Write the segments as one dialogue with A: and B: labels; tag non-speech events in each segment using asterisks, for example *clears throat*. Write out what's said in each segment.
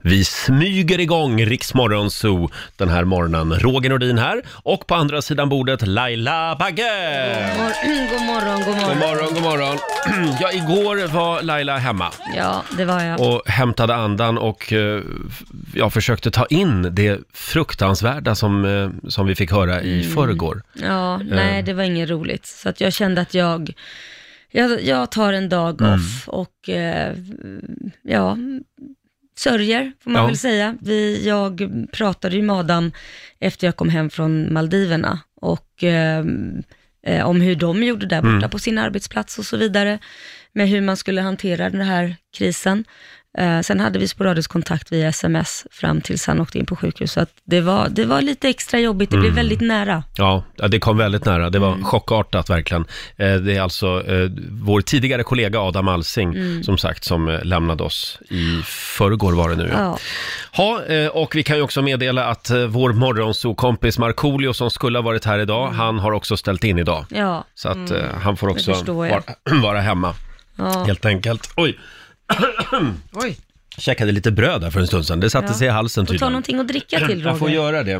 A: Vi smyger igång Riksmorgon Zoo den här morgonen. Roger Nordin här och på andra sidan bordet Laila Bagge!
B: Mor- *clears throat* god morgon, god
A: God
B: morgon.
A: morgon, god morgon. *clears throat* Ja, igår var Laila hemma
B: Ja, det var jag.
A: och hämtade andan och eh, f- jag försökte ta in det fruktansvärda som, eh, som vi fick höra i förrgår. Eh.
B: Ja, nej, det var inget roligt. Så att jag kände att jag, jag, jag tar en dag
A: Mm.
B: off och eh, ja, sörjer, får man
A: Ja.
B: väl säga. Vi, jag pratade ju med Adam efter jag kom hem från Maldiverna och eh, eh, om hur de gjorde där
A: Mm.
B: borta på sin arbetsplats och så vidare, med hur man skulle hantera den här krisen. Eh, sen hade vi sporadisk kontakt via sms fram tills han åkte in på sjukhus, så att det, var, det var lite extra jobbigt, det
A: Mm.
B: blev väldigt nära.
A: Ja, ja, det kom väldigt nära. Det var chockartat verkligen. Eh, Det är alltså eh, vår tidigare kollega Adam Alsing, som sagt, som eh, lämnade oss i förrgår var det nu. Ja.
B: Ja.
A: Ha, eh, och vi kan ju också meddela att eh, vår morgonsokompis Markoolio som skulle ha varit här idag,
B: Mm.
A: han har också ställt in idag.
B: Ja,
A: Så att eh, han får också
B: Mm. förstår
A: vara,
B: jag.
A: *clears throat* vara hemma,
B: ja.
A: helt enkelt.
B: *clears throat*
A: Oj!
C: Oj.
A: Käkade lite bröd där för en stund sedan. Det satte
B: Ja.
A: sig i halsen
B: Får ta
A: tydligen.
B: någonting att dricka till
A: *clears throat* Jag får
B: Roger.
A: göra det.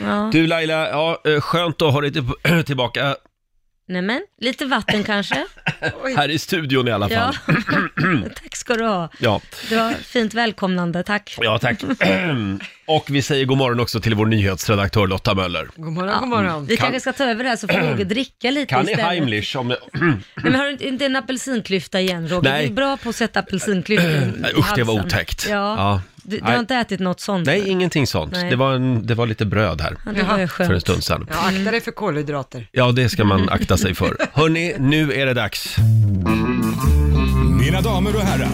B: Ja.
A: Du Laila, ja, eh, skönt att ha dig till- *clears throat* tillbaka
B: Nämen, lite vatten kanske?
A: här i studion i alla fall.
B: Ja. *laughs* tack ska du ha.
A: Ja,
B: Det var fint välkomnande, tack.
A: ja tack. *clears throat* Och vi säger god morgon också till vår nyhetsredaktör Lotta Möller.
C: God morgon,
B: Ja,
C: god morgon.
A: mm.
B: Vi kanske ska ta över det här så får Roger dricka lite
A: Kan ni
B: istället.
A: Heimlich om... *clears throat*
B: Nej, men har du inte- inte en apelsinklyfta igen Roger?
A: Nej.
B: Du är bra på att sätta apelsinklyftor i
A: Nej, *clears throat* Usch, det var
B: Mm. halsen.
A: otäckt.
B: Ja.
A: Ja.
B: Du, du
A: Nej.
B: har inte ätit något sånt?
A: Nej, ingenting sånt.
B: Nej.
A: Det var, en, det var lite bröd här
B: Ja, det var ju skönt.
A: för en stund sedan.
C: Ja, akta dig för kolhydrater.
A: Ja, det ska man akta sig
B: *laughs*
A: för. Hörni, nu är det dags.
D: Mina damer och herrar,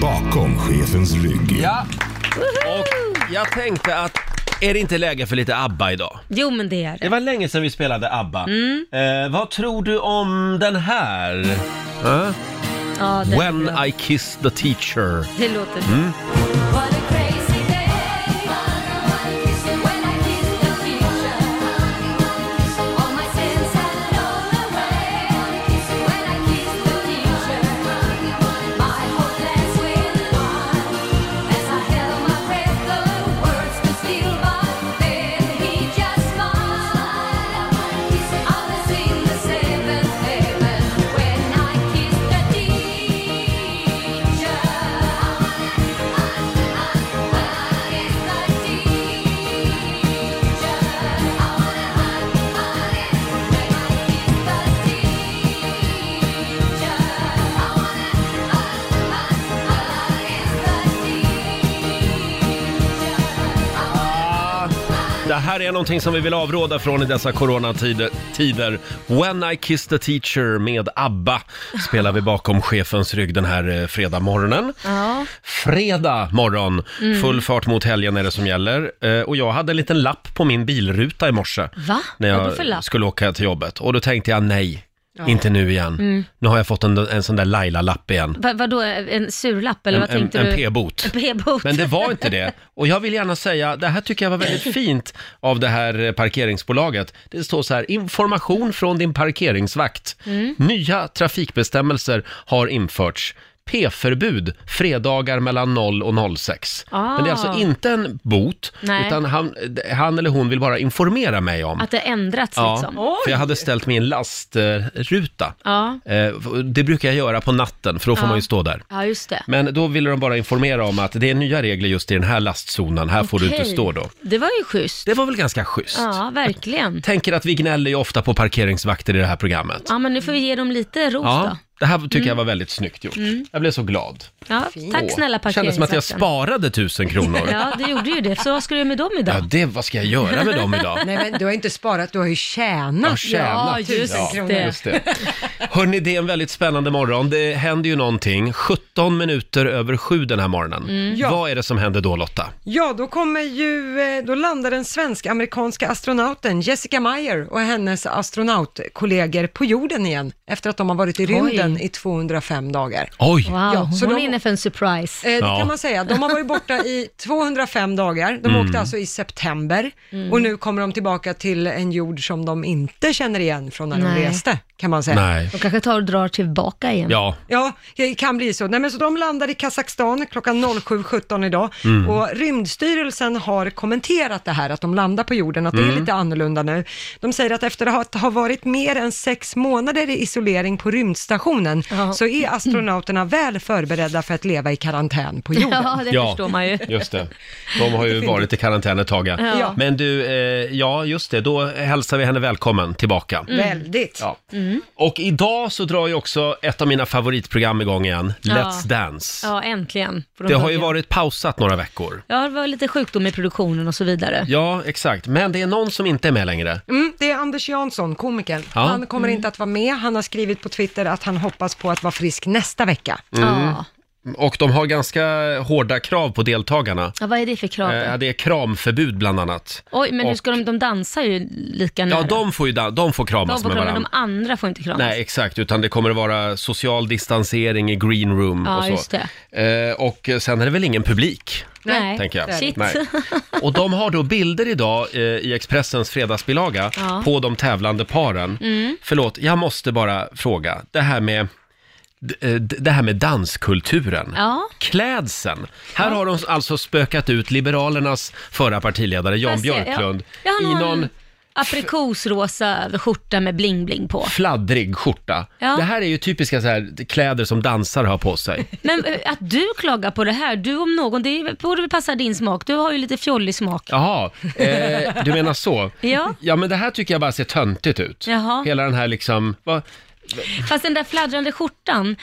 D: bakom chefens rygg.
A: Ja. Och jag tänkte att, är det inte läge för lite ABBA idag?
B: Jo, men det är
A: Det
B: det.
A: var länge sedan vi spelade ABBA.
B: Mm.
A: Eh, vad tror du om den här? Eh?
B: Ja, det, är
A: When
B: bra.
A: I Mm. kiss the teacher.
B: det låter bra.
E: What a crazy day. When I kiss the future. All my sins are blown away. When I kiss the future. My hope lands with one. As I held my breath, the words could steal by. Then he just smiled. I was in the seventh heaven when I kissed the teacher.
A: Det här är någonting som vi vill avråda från i dessa coronatider. tider. When I Kiss the Teacher med ABBA spelar vi bakom chefens rygg den här eh, fredag morgonen.
B: Ja. Mm.
A: Fredag morgon, full fart mot helgen är det som gäller. Eh, och jag hade en liten lapp på min bilruta i morse.
B: Va?
A: När jag
B: Vadå för lapp?
A: skulle åka till jobbet. Och då tänkte jag nej, inte nu igen.
B: Mm.
A: Nu har jag fått en, en sån där Laila-lapp igen.
B: Va, vadå, en surlapp eller
A: En,
B: vad
A: en,
B: tänkte
A: en
B: du?
A: p-bot.
B: P-bot.
A: Men det var inte det. Och jag vill gärna säga, det här tycker jag var väldigt fint av det här eh, parkeringsbolaget. Det står så här, information från din parkeringsvakt.
B: Mm.
A: Nya trafikbestämmelser har införts. P-förbud fredagar mellan 0 och 06.
B: Ah.
A: Men det är alltså inte en bot,
B: Nej.
A: utan han, eh, han eller hon vill bara informera mig om.
B: Att det ändrats liksom?
A: Ja, för jag hade ställt mig i en lastruta.
B: Ja.
A: Eh, Det brukar jag göra på natten, för då får
B: Ja.
A: man ju stå där.
B: ja, just det.
A: Men då ville de bara informera om att det är nya regler just i den här lastzonen, här får du inte
B: Okej.
A: stå då.
B: Det var ju schysst.
A: Det var väl ganska schysst?
B: Ja, verkligen.
A: Tänker att vi gnäller ju ofta på parkeringsvakter i det här programmet.
B: Ja, men nu får vi ge dem lite ros
A: Ja,
B: då.
A: det här tycker jag var väldigt snyggt gjort. Jag blev så glad.
B: Ja, tack snälla
A: Åh, Kändes som att jag
B: parkeringsvakten.
A: sparade tusen kronor. ja.
B: *laughs* Ja, du gjorde ju det. Så vad ska du göra med dem idag?
A: det, vad ska jag göra med dem
B: *laughs*
A: idag?
C: Nej, men du har inte sparat, du har ju
A: Jag har
C: tjänat.
A: tjänat
B: Ja, just
A: tusen
B: det.
A: kronor. Just det. Hörni, det är en väldigt spännande morgon. Det händer ju någonting. 17 minuter över sju den här morgonen.
B: Mm.
C: Ja.
A: Vad är det som händer då Lotta?
C: Ja, då kommer ju, eh, då landar den svensk-amerikanska astronauten Jessica Meyer och hennes astronautkollegor på jorden igen efter att de har varit i rymden Indien i 205 dagar.
A: Oj!
B: Wow,
C: Ja, så
B: hon
C: de-
B: är inne för en surprise.
C: Eh, det
A: Ja.
C: kan man säga. De har varit borta
A: *laughs*
C: i 205 dagar. De
A: Mm.
C: åkte alltså i september och nu kommer de tillbaka till en jord som de inte känner igen från när
B: Nej.
C: de reste, kan man säga.
A: Nej.
B: De kanske tar och drar tillbaka igen.
A: Ja,
C: Ja, det kan bli så. Nej, men så de landade i Kazakstan klockan 07.17 idag
A: Mm.
C: och Rymdstyrelsen har kommenterat det här att de landar på jorden, att
A: Mm.
C: det är lite annorlunda nu. De säger att efter att ha varit mer än sex månader i isolering på rymdstationen
B: Ja.
C: så är astronauterna väl förberedda för att leva i karantän på jorden.
B: Ja, det
A: Ja.
B: förstår man ju.
A: just det. De
B: *laughs*
A: har ju varit i karantän ett tag. ja.
C: Ja.
A: Men du, eh, ja just det, då hälsar vi henne välkommen tillbaka.
B: Mm.
C: Väldigt.
A: Ja. Och idag så drar ju också ett av mina favoritprogram igång igen, Let's Dance.
B: Ja, äntligen. får de
A: Det har ju
B: börja.
A: varit pausat några veckor.
B: Ja, det var lite sjukdom i produktionen och så vidare.
A: Ja, exakt. Men det är någon som inte är med längre.
C: Mm, det är Anders Jansson, komikern.
A: Ja.
C: Han kommer
B: Mm.
C: inte att vara med. Han har skrivit på Twitter att han hoppas på att vara frisk nästa vecka.
B: Ja.
A: Och de har ganska hårda krav på deltagarna.
B: ja, vad är det för krav?
A: Eh, det är kramförbud bland annat.
B: Oj, men hur
A: och-
B: ska de, de dansar ju lika nära.
A: Ja, de får ju da- de får
B: Mm. de
A: kramas
B: får
A: med
B: kramas, de
A: varandra.
B: andra får inte kramas.
A: Nej, exakt, utan det kommer att vara social distansering i green room
B: Ja,
A: och så.
B: just det.
A: Eh, och sen är det väl ingen publik,
B: Nej.
A: tänker jag.
B: Shit. *laughs*
A: Nej. Och de har då bilder idag eh, i Expressens fredagsbilaga
B: Ja. Mm.
A: på de tävlande paren. Förlåt, jag måste bara fråga, det här med, d- eh, d- det här med danskulturen.
B: Ja.
A: Klädseln. Här har de alltså spökat ut Liberalernas förra partiledare Jan
B: Jag ser- ja.
A: Björklund
B: Ja, han
A: i
B: har
A: någon
B: en aprikosrosa skjorta med bling-bling på.
A: fladdrig skjorta.
B: Ja.
A: Det här är ju typiska så här, kläder som dansare har på sig.
B: Men eh, att du klagar på det här, du om någon, det borde väl passa din smak. Du har ju lite fjollig smak.
A: Jaha, eh, du menar så?
B: Ja.
A: ja, men det här tycker jag bara ser töntigt ut.
B: Jaha.
A: Hela den här liksom, vad,
B: Fast den där fladdrande skjortan,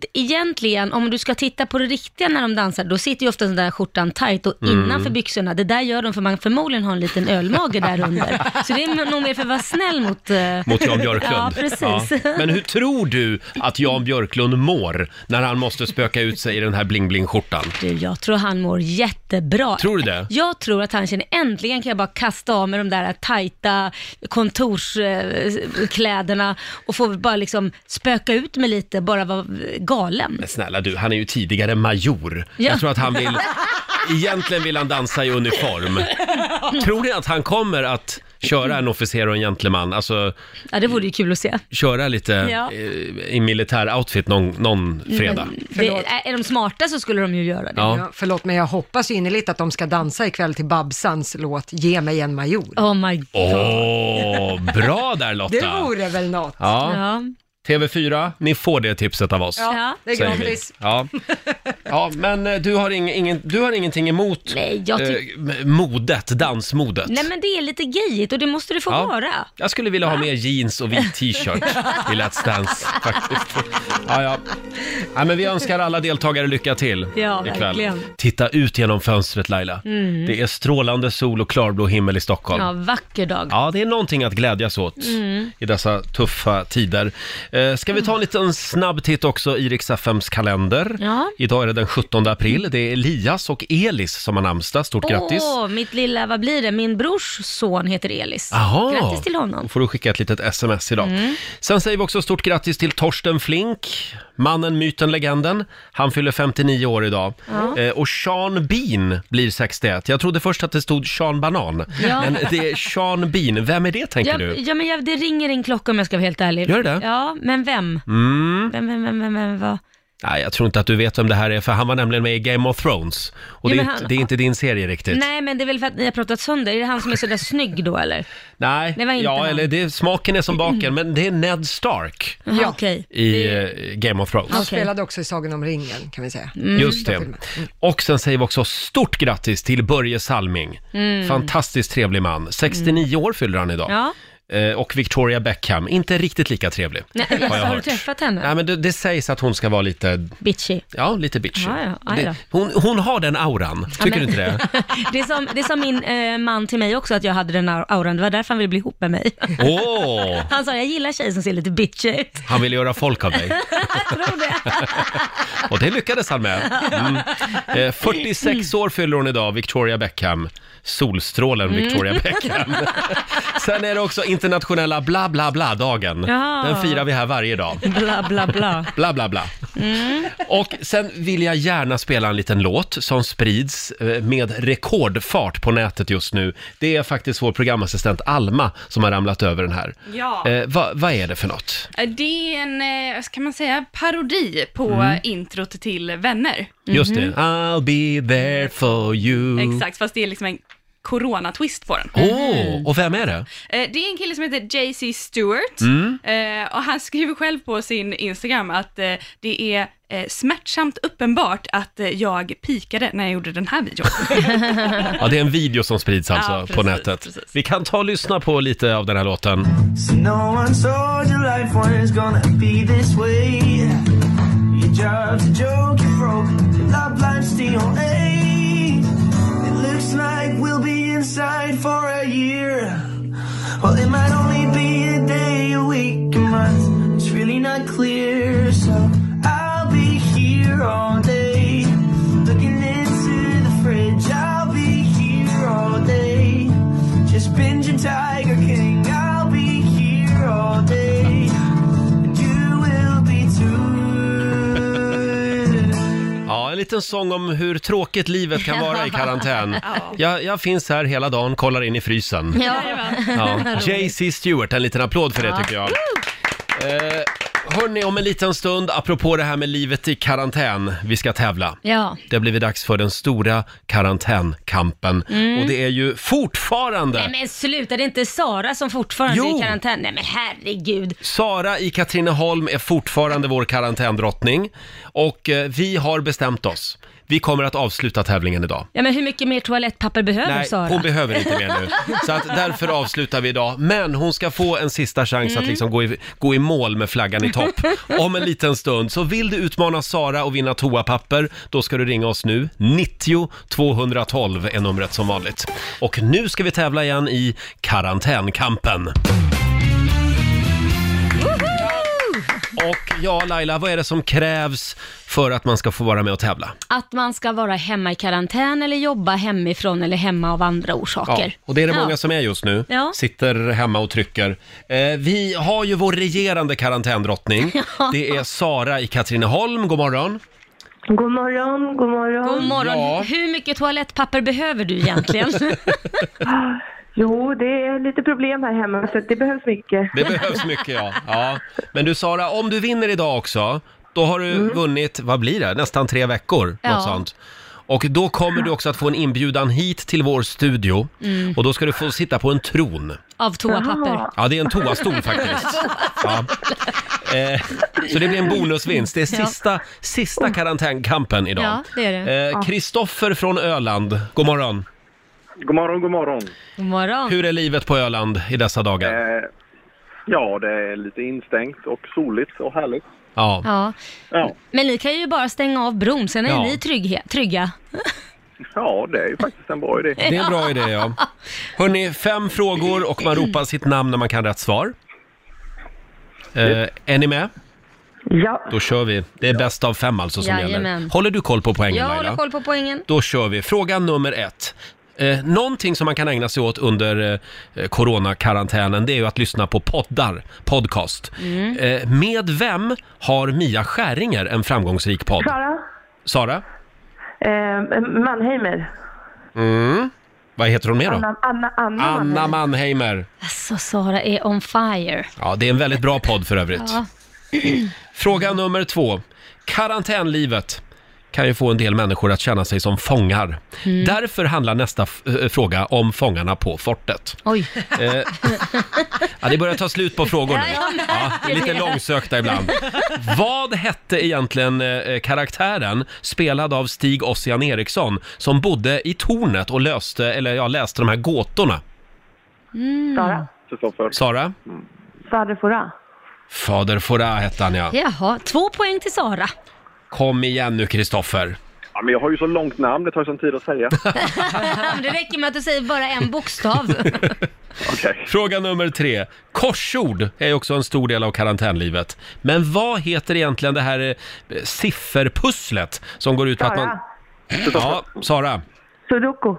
B: d- egentligen om du ska titta på det riktiga när de dansar, då sitter ju ofta den där skjortan tight och
A: Mm.
B: innanför byxorna. Det där gör de för man förmodligen har en liten ölmage
A: *laughs*
B: där under. Så det är nog mer för att vara snäll mot... eh,
A: mot Jan Björklund.
B: Ja, precis.
A: Ja. Men hur tror du att Jan Björklund mår när han måste spöka ut sig i den här bling-bling-skjortan?
B: Du, jag tror han mår jättebra.
A: Tror du det?
B: Jag tror att han känner, äntligen kan jag bara kasta av mig de där tajta kontorskläderna och få bara liksom spöka ut mig lite, bara vara galen.
A: Men snälla du, han är ju tidigare major.
B: Ja.
A: Jag tror att han vill... Egentligen vill han dansa i uniform. Tror ni att han kommer att köra en officer och en gentleman? Alltså
B: Ja, det vore ju kul att se.
A: köra lite
B: Ja.
A: eh, i militär outfit någon, någon fredag?
B: Det, är de smarta så skulle de ju göra det.
A: Ja.
C: Ja, förlåt, men jag hoppas innerligt att de ska dansa ikväll till Babsans låt Ge mig en major.
B: Oh my god.
A: Åh, bra där Lotta!
C: Det vore väl något.
A: Ja,
B: Ja.
A: TV4, ni får det tipset av oss.
B: Ja.
C: Det är
A: säger vi.
C: gratis.
A: Ja. ja, men eh, du har, ing, ingen, du har ingenting emot
B: Nej, jag
A: eh,
B: tyck-
A: m- modet, dansmodet?
B: Nej men det är lite gayigt och det måste det få
A: Ja.
B: vara.
A: Jag skulle vilja ha mer jeans och vit t-shirt
B: *laughs*
A: i Let's Dance faktiskt. Ja, ja. ja, men vi önskar alla deltagare lycka till
B: Ja,
A: ikväll.
B: verkligen. Mm.
A: Titta ut genom fönstret Laila. Det är strålande sol och klarblå himmel i Stockholm.
B: Ja, Mm.
A: Ja.
B: vacker dag.
A: det är någonting att glädjas åt i dessa tuffa tider. Eh, ska vi ta en liten snabb titt också i riks FMs kalender?
B: Ja.
A: Idag är det den 17 april. Det är Elias och Elis som har namnsdag. Stort grattis!
B: Åh, mitt lilla, vad blir det? Min brors son heter Elis.
A: Aha.
B: Grattis till honom. Mm.
A: Då får du skicka ett litet sms idag. Sen säger vi också stort grattis till Torsten Flink, mannen, myten, legenden. Han fyller 59 år idag. Eh, och Sean Bean blir 61. Jag trodde först att det stod Sean Banan,
B: Ja.
A: men det är Sean Bean. Vem är det tänker
B: Ja,
A: du?
B: ja, men jag, det ringer en klocka om jag ska vara helt ärlig.
A: Gör det?
B: Ja, men vem?
A: Mm.
B: Vem, vem, vem, vem, vem vad?
A: Nej, jag tror inte att du vet vem det här är, för han var nämligen med i Game of Thrones. Och det,
B: Ja,
A: är,
B: men
A: inte-
B: han-
A: det är inte din serie riktigt.
B: Nej, men det är väl för att ni har pratat sönder. Är det han som är sådär snygg då eller?
A: Nej,
B: Det var inte
A: ja,
B: han.
A: eller det, smaken är som baken, men det är Ned Stark
B: Jaha,
C: Ja.
B: Okej.
A: i eh, Game of Thrones.
C: Han
B: Okej. Mm.
C: spelade också i Sagan om ringen, kan vi säga.
A: Just det. Och sen säger vi också stort grattis till Börje Salming. Fantastiskt trevlig man. 69 år fyller han idag.
B: Mm. Ja.
A: Eh, Och Victoria Beckham, inte riktigt lika trevlig.
B: Nej, alltså,
A: jag
B: har, du
A: hört.
B: träffat henne?
A: Nej, men det, det sägs att hon ska vara lite,
B: Bitchy.
A: ja, lite bitchy.
B: Ja, ja, aj då.
A: Det, hon, hon har den auran, tycker du inte det?
B: *laughs* Det är som, det är som min eh, man till mig också, att jag hade den au- auran. Det var därför han ville bli ihop med mig. *laughs*
A: Åh,
B: Han sa, jag gillar tjejer som ser lite bitchy ut. *laughs*
A: han vill göra folk av dig.
B: Jag tror det.
A: Och det lyckades han med. Mm. Eh, 46 år fyller
F: Mm.
A: hon idag, Victoria Beckham. Solstrålen Victoria Beckham. Sen är det också internationella bla bla bla-dagen.
B: Ja.
A: Den firar vi här varje dag.
G: Bla, bla, bla.
A: Bla bla bla.
F: Mm.
A: Och sen vill jag gärna spela en liten låt som sprids eh, med rekordfart på nätet just nu. Det är faktiskt vår programassistent Alma som har ramlat över den här.
F: Ja.
A: Eh, va, vad är det för något?
F: Det är en, eh, vad kan man säga, parodi på
A: Mm.
F: introt till Vänner.
A: Just det, I'll be there for you.
F: Mhm. Exakt, fast det är liksom en coronatwist på den.
A: Åh,
F: Mhm.
A: och vem är det?
F: Eh, Det är en kille som heter JC Stewart
A: Mm.
F: Eh, och han skriver själv på sin Instagram att eh, det är eh, smärtsamt uppenbart att eh, jag pikade när jag gjorde den
A: *laughs*
F: här videon.
A: Ja, det är en video som sprids alltså
F: Ja, precis,
A: på nätet.
F: precis.
A: Vi kan ta och lyssna på lite av den här låten.
H: So no one told you life was gonna be this way. Your job's a joke, you're broke. Your love life's the only. It looks like we'll be inside for a year. Well, it might only be a day, a week, a month. It's really not clear, so I'll be here all day. Looking into the fridge, I'll be here all day. Just binging Tiger King, I'll be here all day. And you will be too.
A: Ja, en liten sång om hur tråkigt livet kan vara i
F: *laughs*
A: karantän. Jag, jag finns här hela dagen, kollar in i frysen.
B: *laughs* Ja.
F: *laughs*
A: Ja, JC Stewart, en liten applåd för det tycker jag. Eh, hörni, om en liten stund, apropå det här med livet i karantän, vi ska tävla.
B: ja.
A: Det har blivit dags för den stora karantänkampen.
F: Mm.
A: Och det är ju fortfarande
B: Nej men sluta, det är inte Sara som fortfarande
A: Jo.
B: är i karantän. Nej men herregud.
A: Sara i Katrineholm är fortfarande vår karantändrottning. Och eh, vi har bestämt oss. Vi kommer att avsluta tävlingen idag.
B: Ja men hur mycket mer toalettpapper behöver
A: Nej,
B: Sara?
A: hon behöver inte mer nu. Så att därför avslutar vi idag. Men hon ska få en sista chans
B: Mm.
A: att liksom gå, i, gå i mål med flaggan i
B: *laughs*
A: topp. Om en liten stund. Så vill du utmana Sara och vinna toapapper, då ska du ringa oss nu. 90 212 är numret som vanligt. Och nu ska vi tävla igen i karantänkampen. Och ja, Laila, vad är det som krävs för att man ska få vara med och tävla?
B: Att man ska vara hemma i karantän eller jobba hemifrån eller hemma av andra orsaker.
A: Ja, och det är det
B: Ja.
A: många som är just nu.
B: Ja.
A: Sitter hemma och trycker. Eh, vi har ju vår regerande
B: *laughs*
A: karantändrottning. Det är Sara i Katrineholm. God morgon.
I: God morgon, god morgon.
B: God morgon.
A: Ja.
B: Hur mycket toalettpapper behöver du
A: *laughs*
B: egentligen?
I: Jo, det är lite problem här hemma så att det behövs mycket.
B: *laughs*
A: Det behövs mycket, ja. ja. Men du Sara, om du vinner idag också, då har du vunnit, vad blir det, nästan tre veckor.
B: Mm. Ja.
A: Något sånt. Och då kommer du också att få en inbjudan hit till vår studio.
B: Mm.
A: Och då ska du få sitta på en tron.
B: av toapapper.
A: Ja, det är en toastol
B: *laughs*
A: faktiskt. Ja. Eh, så det blir en bonusvinst. Det är sista, sista karantänkampen idag.
B: Oh. Ja, det är
A: det. Kristoffer från Öland, god morgon.
J: God morgon, god morgon.
B: God morgon.
A: Hur är livet på Öland i dessa dagar?
J: Eh, ja, det är lite instängt och soligt och härligt.
A: Ja.
B: Ja.
J: Ja,
B: Men ni kan ju bara stänga av bron, sen är
A: Ja.
B: ni trygga. trygga.
J: ja det är ju faktiskt en bra idé.
A: Det är en bra idé, ja. Hörni, fem frågor och man ropar sitt namn när man kan rätt svar. Eh, är ni med?
I: Ja,
A: Då kör vi. Det är bäst av fem alltså som gäller.
B: Jajamän.
A: Håller du koll på poängen
B: Jag
A: Laila?
B: håller koll på poängen.
A: Då kör vi. Fråga nummer ett. Eh, någonting som man kan ägna sig åt under eh, coronakarantänen det är ju att lyssna på poddar, podcast. Eh, med vem har Mia Skäringer en framgångsrik podd?
I: Sara.
A: Sara?
I: Eh, Mannheimer.
A: Vad heter hon mer då?
I: Anna, Anna, Anna,
A: Anna
I: Mannheimer.
A: Mannheimer.
B: Alltså Sara är on fire.
A: Ja, det är en väldigt bra podd för övrigt.
B: Ja.
A: Fråga nummer två. Karantänlivet kan ju få en del människor att känna sig som fångar.
B: Mm.
A: Därför handlar nästa f- eh, fråga om fångarna på fortet.
B: Oj.
A: Eh, ja, det börjar ta slut på frågor nu. Ja, det är lite långsökta ibland. Vad hette egentligen eh, karaktären spelad av Stig Ossian Eriksson som bodde i tornet och löste, eller ja, läste de här gåtorna?
I: Sara.
J: Kristoffer.
A: Sara?
I: Fader Fora.
A: Fader Fora hette han ja.
B: Jaha, två poäng till Sara.
A: Kom igen nu Kristoffer.
J: Ja, men jag har ju så långt namn, det tar ju sån tid att säga.
B: Ja, men det räcker med att du säger bara
A: *laughs*
B: en bokstav.
J: Okej.
A: Fråga nummer tre. Korsord är ju också en stor del av karantänlivet. Men vad heter egentligen det här eh, sifferpusslet som går ut på att man...
I: Sara.
A: Ja, Sara.
I: Sudoku.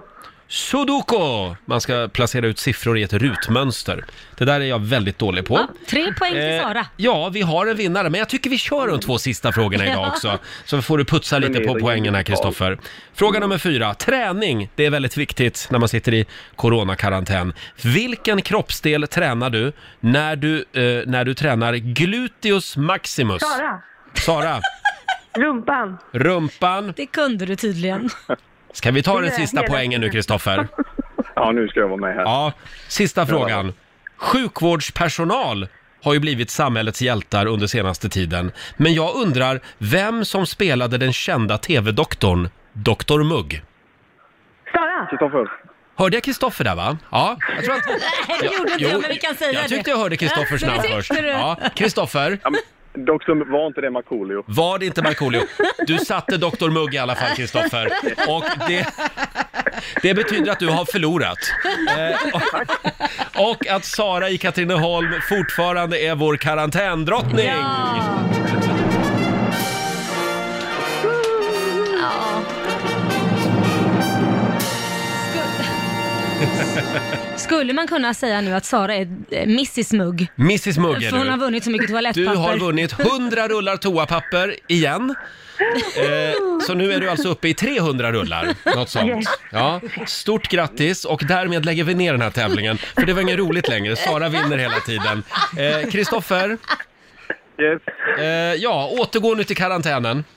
A: sudoku. Man ska placera ut siffror i ett rutmönster. Det där är jag väldigt dålig på.
B: Ja, tre poäng till
A: Eh,
B: Sara.
A: ja, vi har en vinnare, men jag tycker vi kör de två sista frågorna idag
B: Ja.
A: också. Så får du putsa lite på poängen här, Kristoffer. Fråga nummer fyra. Träning, det är väldigt viktigt när man sitter i coronakarantän. Vilken kroppsdel tränar du när du, eh, när du tränar gluteus maximus?
I: Sara,
A: Sara,
I: rumpan.
A: rumpan.
B: Det kunde du tydligen.
A: Ska vi ta den sista
I: hela-
A: poängen nu, Kristoffer?
J: Ja, nu ska jag vara med här.
A: Ja, sista frågan. Sjukvårdspersonal har ju blivit samhällets hjältar under senaste tiden. Men jag undrar vem som spelade den kända tv-doktorn Dr Mugg?
I: Sara!
J: Kristoffer.
A: Hörde jag Kristoffer där va? Ja, jag tror att...
B: *laughs* Nej, det gjorde inte
A: Jo,
B: jag, men vi kan säga
A: Jag
B: det.
A: tyckte jag hörde
B: *laughs*
A: Kristoffers
B: Ja, det
A: namn
B: tyckte
A: först.
B: du.
A: Ja, Kristoffer,
J: Ja, men, dock så var inte det Markoolio.
A: var det inte Markoolio? Du satte Dr Mugg i alla fall Kristoffer. Och det, det betyder att du har förlorat. Eh, och, och att Sara i Katrineholm fortfarande är vår karantändrottning.
B: Ja. Skulle- Skulle man kunna säga nu att Sara är eh, Mrs Mugg?
A: Mrs Mugg är
B: För hon har
A: du.
B: vunnit så mycket
A: Du
B: toalettpapper.
A: har vunnit 100 rullar toapapper igen. Eh, så nu är du alltså uppe i 300 rullar. Något sånt. Ja. Stort grattis och därmed lägger vi ner den här tävlingen. För det var inget roligt längre. Sara vinner hela tiden. Eh, Kristoffer,
J: Yes.
A: eh, ja, återgå nu till karantänen. *laughs*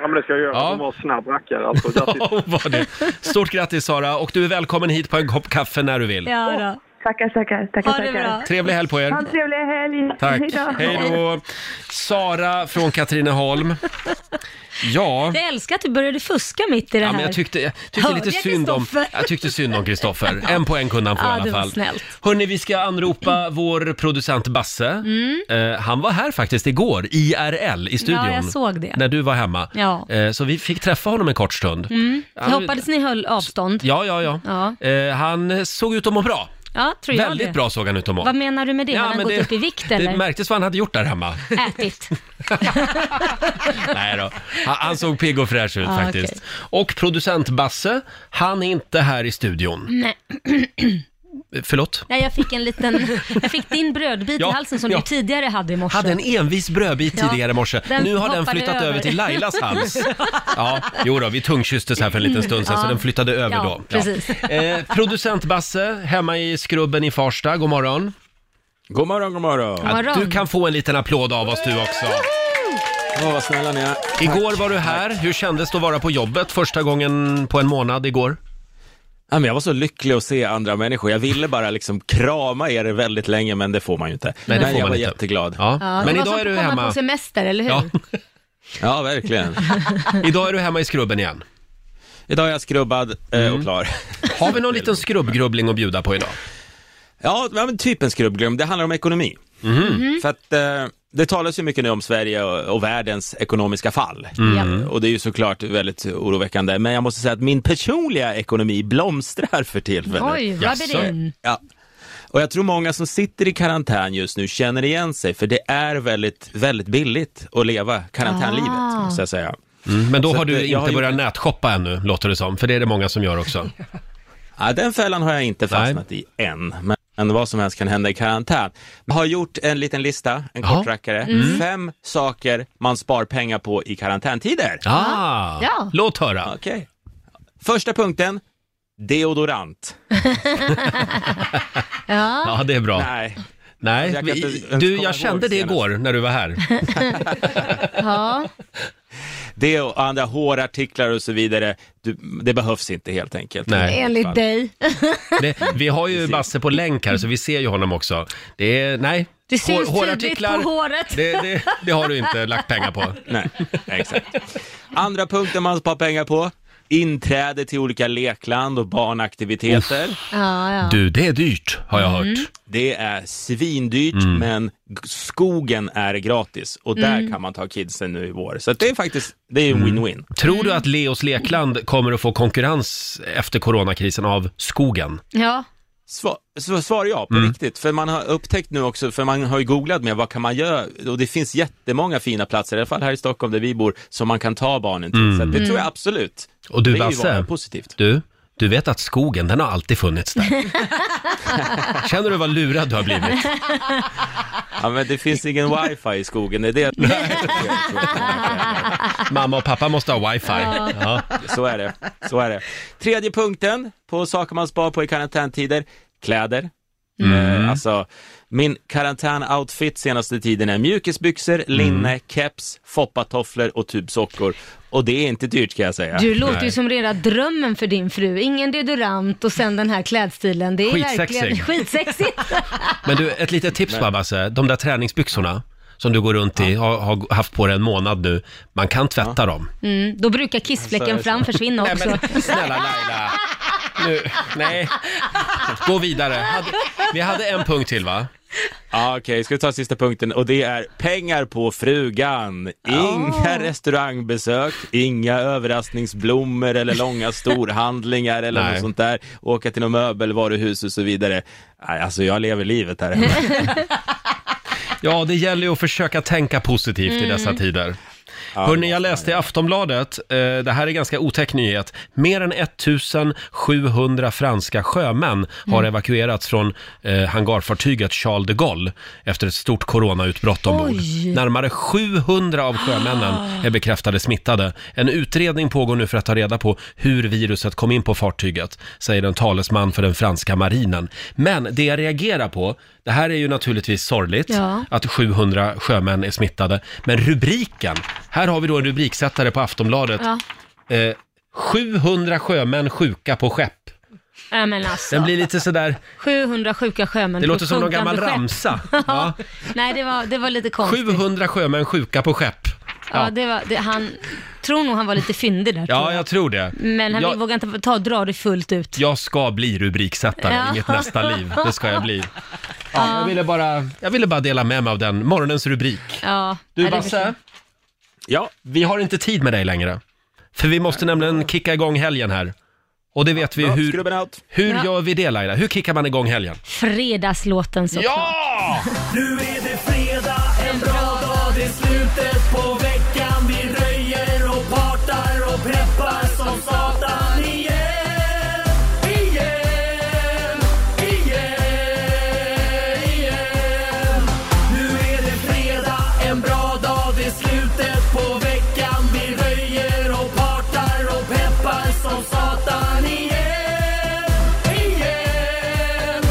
J: Ja, men det ska jag göra.
A: Ja.
J: Hon var snabb rackare alltså. Grattis.
A: Ja, var det. Stort grattis Sara och du är välkommen hit på en kopp kaffe när du vill.
B: Ja,
I: Tackar, tackar, tackar,
B: då. Ha det bra.
I: tackar.
A: Trevlig helg på er.
I: Ha en trevlig helg!
A: Tack.
I: Hej då.
A: Hej då. Sara från Katrineholm. Ja.
B: Jag älskar att du började fuska mitt i det
A: Ja,
B: här.
A: men jag tyckte, jag tyckte
B: Hörde
A: lite
B: jag
A: synd om
B: Christoffer?
A: Jag tyckte synd om Kristoffer. En poäng kunde han få
B: Ja,
A: i
B: det
A: alla
B: var
A: fall.
B: snällt. Mm.
A: Hörni, vi ska anropa vår producent Basse. Eh, han var här faktiskt igår, IRL, i studion.
B: Ja, jag såg det.
A: När du var hemma.
B: Ja. Mm.
A: Eh, så vi fick träffa honom en kort stund.
B: Jag hoppades ni höll avstånd.
A: Ja, ja, ja.
B: Ja.
A: Eh, han såg ut att må bra.
B: Ja, tror jag
A: Väldigt
B: det.
A: bra såg han ut att må.
B: Vad menar du med det? har han
A: men
B: gått upp i vikt
A: Det
B: eller?
A: märktes vad han hade gjort där
B: *laughs*
A: hemma.
B: Ätit?
A: Nej då. Han, han såg pigg och fräsch ut
B: Ja,
A: faktiskt. Och producent Basse, han är inte här i studion.
B: Nej.
A: Eh, *clears throat* Förlåt?
B: Nej, jag fick en liten...
A: *laughs*
B: Jag fick din brödbit
A: Ja,
B: i halsen som
A: ja.
B: du tidigare hade i morse.
A: Hade en envis brödbit
B: Ja,
A: tidigare i morse.
B: den
A: Nu har den
B: hoppade
A: flyttat över.
B: över
A: till
B: *laughs*
A: Lailas hals. Ja, jo då, vi tungkysstes här för en liten stund sedan så
B: Ja.
A: den flyttade över
B: Ja,
A: då.
B: precis.
A: Eh, producent Basse, hemma i skrubben i Farsta, god morgon.
D: God morgon, god morgon.
A: Ja,
B: God morgon.
A: Du kan få en liten applåd av oss du också.
D: Åh, vad snälla ni är.
A: Igår var du här, hur kändes det att vara på jobbet första gången på en månad igår?
D: Ja, men jag var så lycklig att se andra människor. Jag ville bara liksom krama er väldigt länge, men det får man ju inte.
A: Nej, det får
D: men jag
A: man
D: var
A: inte.
D: jätteglad. Ja,
A: Ja.
B: Ja,
A: Men
B: det var
A: idag
B: som
A: är du
B: att Alltså, komma
A: hemma.
B: på semester, eller hur?
A: Ja,
D: verkligen.
A: idag är du hemma i skrubben igen.
D: Idag är jag skrubbad eh, och klar.
A: Mm. Har vi någon liten skrubbgrubbling att bjuda på idag?
D: *laughs* Ja, ja, men typ en skrubbglöm. Det handlar om ekonomi.
A: Mhm.
D: För att eh, det talas ju mycket nu om Sverige och, och världens ekonomiska fall.
B: Ja.
D: Och det är ju såklart väldigt oroväckande. Men jag måste säga att min personliga ekonomi blomstrar för tillfället.
B: Oj, rub it
A: Jaså.
B: in.
D: Ja. Och jag tror många som sitter i karantän just nu känner igen sig, för det är väldigt, väldigt billigt att leva karantänlivet,
B: Ah.
D: måste jag säga.
A: Mm, men då
D: Så
A: har
D: att,
A: du
D: eh, jag har
A: inte
D: gjort-
A: börjat nätshoppa ännu, låter det som. För det är det många som gör
D: *laughs*
A: också.
D: Ja, den fällan har jag inte fastnat i än, men- men vad som helst kan hända i karantän. Jag har gjort en liten lista, en
A: Ja.
D: kortrackare,
B: Mm.
D: fem saker man spar pengar på i karantäntider.
A: Ah,
B: Ja.
A: låt höra.
D: Okej. Första punkten, deodorant.
B: Ja.
A: Ja, det är bra.
D: Nej,
A: Nej,
D: Jag kan inte ens komma
A: du, jag
D: ihåg
A: kände det
D: senast.
A: igår när du var här.
D: *laughs*
B: ja.
D: det och andra hårartiklar och så vidare, du, det behövs inte helt enkelt.
A: Nej.
B: Enligt dig.
A: Det, vi har ju Basse på länk här, så vi ser ju honom också. Det är, nej.
B: Det syns
A: Hår-
B: tydligt på håret.
A: Det, det, det har du inte lagt pengar på.
D: Nej, exakt. Andra punkten man spar pengar på, inträde till olika lekland och barnaktiviteter.
B: Ja, ja.
A: Du, det är dyrt, har jag hört.
D: Det är svindyrt, men g- skogen är gratis och där
B: Mm.
D: kan man ta kidsen nu i vår. Så att det är faktiskt, det är en win-win.
A: Tror du att Leos Lekland kommer att få konkurrens efter coronakrisen av skogen?
B: Ja.
D: Svar, så svarar jag på
A: Mm.
D: riktigt, för man har upptäckt nu också, för man har ju googlat med vad kan man göra och det finns jättemånga fina platser, i alla fall här i Stockholm där vi bor, som man kan ta barnen till. Så att det tror jag absolut.
A: Mm. Och du,
D: det är ju
A: Basse?
D: bara positivt.
A: Du, Du vet att skogen, den har alltid funnits där. Känner du vad lurad du har blivit?
D: Ja, men det
A: *laughs*
D: finns ingen wifi i skogen, det är det.
A: Mamma och pappa måste ha wifi.
D: Ja.
A: Ja.
D: Så är det, så är det. Tredje punkten på saker man spar på i karantäntider, kläder.
A: Mm.
D: Eh, alltså, min karantänoutfit senaste tiden är
A: Mm.
D: mjukisbyxor, linne, keps, foppatofflor och tubsockor. Och det är inte dyrt kan jag säga.
B: Du låter ju
D: Nej.
B: som rena drömmen för din fru. Ingen deodorant och sen den här klädstilen. Det är
A: Skitsexig.
B: verkligen
A: *laughs*
B: skitsexigt.
A: Men du, ett litet tips bara Basse. De där träningsbyxorna som du går runt i, har, har haft på dig en månad nu. Man kan tvätta dem.
B: Mm, då brukar kissfläcken
A: Alltså,
B: fram försvinna
A: Nej,
B: också.
A: men snälla Laila. Nu, nej. Gå vidare. Hade, vi hade en punkt till va?
D: Ja, Ah, okej, ska vi ta sista punkten och det är pengar på frugan. Inga restaurangbesök, inga överraskningsblommor
A: *laughs*
D: eller långa storhandlingar eller
A: Nej.
D: något sånt där. Åka till något möbelvaruhus och så vidare. Nej, alltså jag lever livet här hemma.
A: Ja, det gäller ju att försöka tänka positivt i
D: Mm.
A: dessa tider.
D: Ja,
A: Hörni, jag läste i Aftonbladet, eh, det här är ganska otäck nyhet, mer än 1700 franska sjömän har
B: Mm.
A: evakuerats från eh, hangarfartyget Charles de Gaulle efter ett stort coronautbrott ombord.
B: Oj. Ah.
A: Närmare 700 av sjömännen är bekräftade smittade. En utredning pågår nu för att ta reda på hur viruset kom in på fartyget, säger en talesman för den franska marinen. Men det jag reagerar på, det här är ju naturligtvis sorgligt,
B: Ja.
A: att 700 sjömän är smittade. Men rubriken, här har vi då en rubriksättare på Aftonbladet.
B: Ja.
A: Eh, 700 sjömän sjuka på skepp.
B: Nej, men alltså.
A: Den blir lite sådär,
B: 700 sjuka sjömän
A: det
B: på
A: låter som någon
B: sjunkande
A: gammal
B: skepp.
A: ramsa.
B: *laughs*
A: Ja.
B: Nej, det var, det var lite konstigt.
A: 700 sjömän sjuka på skepp.
B: Ja,
A: Ja,
B: det var, det, han tror nog han var lite fyndig där. tror
A: ja jag tror det.
B: jag. Men han
A: jag,
B: vågar inte ta, dra det fullt ut.
A: Jag ska bli rubriksättare
B: Ja.
A: i mitt nästa liv. Det ska jag
B: *laughs*
A: bli. Ja, jag, ville bara, jag ville bara dela med mig av den, morgonens rubrik.
B: Ja,
A: Du
B: nej, det liksom
A: Basse,
D: ja.
A: vi har inte tid med dig längre. För vi måste nämligen kicka igång helgen här. Och det vet vi
D: Ja,
A: hur...
D: skrubben out.
A: Hur
B: Ja.
A: gör vi det Laila? Hur kickar man igång helgen?
B: Fredagslåten såklart.
A: Ja!
H: Nu är det fredag, en bra dag, det är slutet på veckan. Vi röjer och partar och preppar som satan igen. Igen, igen, igen. Nu är det fredag, en bra dag, det är slutet på veckan. Vi röjer och partar och peppar som satan igen. Igen,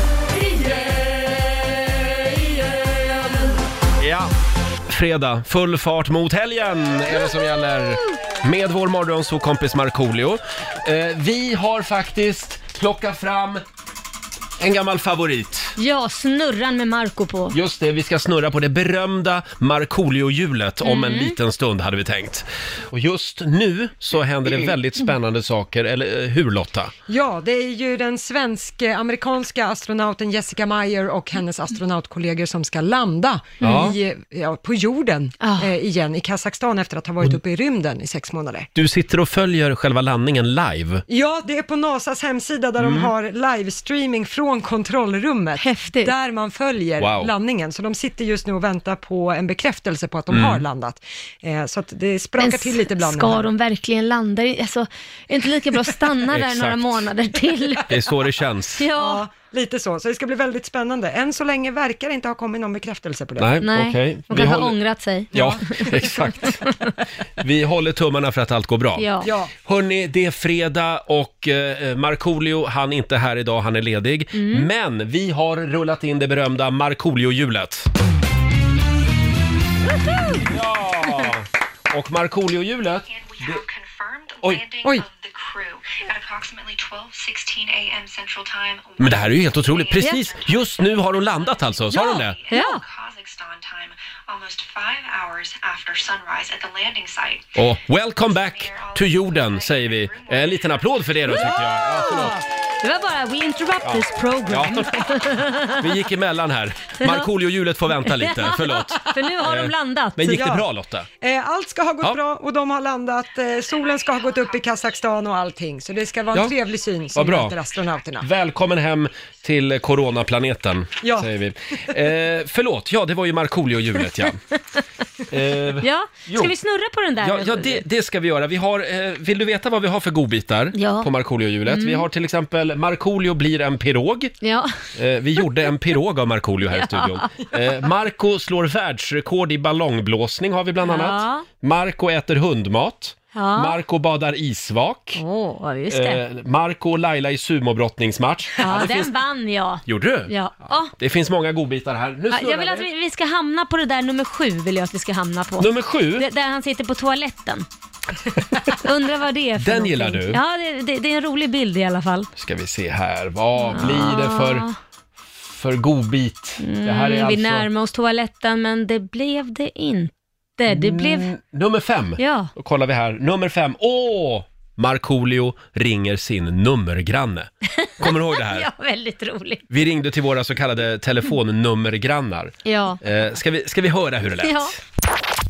H: igen, igen.
A: Ja. Fredag, full fart mot helgen är det som gäller. Med vår morgonsåkompis Markoolio. Eh, vi har faktiskt plockat fram en gammal favorit.
B: Ja, snurran med Marco på.
A: Just det, vi ska snurra på det berömda Markoolio-hjulet om en
B: Mm.
A: liten stund hade vi tänkt. Och just nu så händer det väldigt spännande saker, eller eh, hur Lotta?
C: Ja, det är ju den svensk-amerikanska astronauten Jessica Meyer och hennes astronautkollegor som ska landa
A: Ja.
C: i, ja, på jorden
B: Ah.
C: eh, igen i Kazakstan efter att ha
A: Mm.
C: varit uppe i rymden i sex månader.
A: Du sitter och följer själva landningen live.
C: Ja, det är på NASAs hemsida där de
A: Mm.
C: har livestreaming från kontrollrummet.
B: Häftigt.
C: Där man följer
A: Wow.
C: landningen. Så de sitter just nu och väntar på en bekräftelse på att de
A: Mm.
C: har landat. Eh, så att det sprakar
B: Men
C: till lite bland
B: Ska de verkligen landa? i- Alltså, är det inte lika bra att stanna
A: *laughs*
B: där
A: Exakt.
B: några månader
A: *laughs*
B: till?
A: Det är så det känns.
B: *laughs* Ja.
C: lite så. Så det ska bli väldigt spännande. Än så länge verkar det inte ha kommit någon bekräftelse på det.
A: Nej, Nej. okej. Vi
B: De kanske har
A: håller-
B: ångrat sig.
A: Ja, *laughs* exakt. Vi håller tummarna för att allt går bra.
B: Ja. Ja.
A: Hörni, det är fredag och eh, Markoolio, han är inte här idag, han är ledig.
B: Mm.
A: Men vi har rullat in det berömda Markoolio-hjulet. Ja! Och Markoolio-hjulet... det- Oj,
K: Oj. of the crew at approximately 12:16 a.m. Central Time.
A: men det här är ju helt otroligt. Precis, just nu har hon landat alltså, sa hon det?
K: Yeah. Kazakhstan time, almost five hours after sunrise at the landing site.
A: Eh, Och welcome back to jorden, säger vi. En liten applåd för det då, tycker jag. Ja, förlåt.
B: Det var bara We Interrupt This Program.
A: Vi gick emellan här. Markoolio-hjulet får vänta lite, förlåt.
B: *laughs* För nu har
A: Eh,
B: de landat.
A: Men gick det
C: Ja.
A: bra Lotta?
C: Eh, Allt ska ha gått
A: Ja.
C: bra och de har landat. Eh, Solen ska ha gått upp i Kazakstan och allting. Så det ska vara en
A: Ja.
C: trevlig syn
A: Vad
C: som
A: bra.
C: möter astronauterna.
A: Välkommen hem till coronaplaneten,
C: Ja.
A: säger vi. Eh, förlåt, ja det var ju
C: *laughs*
A: Markoolio-hjulet ja. Eh,
B: Ja, ska
A: jo.
B: vi snurra på den där?
A: Ja,
B: nu?
A: ja det, det ska vi göra. Vi har, eh, vill du veta vad vi har för godbitar
B: Ja.
A: på Markoolio-hjulet?
B: Mm.
A: Vi har till exempel Markoolio blir en pirog.
B: Ja.
A: Eh, vi gjorde en pirog av Markoolio här i
B: Ja.
A: studion. Eh, Marco slår världsrekord i ballongblåsning har vi bland annat.
B: Ja.
A: Marco äter hundmat.
B: Ja.
A: Marco badar isvak.
B: Åh, just det.
A: Eh, Marco och Laila i sumobrottningsmatch.
B: ja,
A: det
B: den
A: finns...
B: vann jag.
A: Gjorde du?
B: Ja. Ja.
A: Det finns många godbitar här. Nu
B: Ja,
A: snurrar
B: Jag vill att vi, vi ska hamna på det där nummer sju, vill jag att vi ska hamna på.
A: Nummer sju?
B: Det, där han sitter på toaletten. Undrar vad det är för
A: Den
B: någonting.
A: gillar du?
B: Ja, det, det, det är en rolig bild i alla fall.
A: Ska vi se här, vad blir det för, för godbit? det här är
B: Mm, Vi
A: alltså
B: närmar oss toaletten, men det blev det inte. Det
A: Mm.
B: blev...
A: nummer fem.
B: Ja.
A: Då kollar vi här, nummer fem. Åh! Markoolio ringer sin nummergranne. Kommer du ihåg det här?
B: *laughs* Ja, väldigt roligt.
A: Vi ringde till våra så kallade telefonnummergrannar.
B: Ja.
A: Eh, ska, vi, ska vi höra hur det lät?
B: Ja.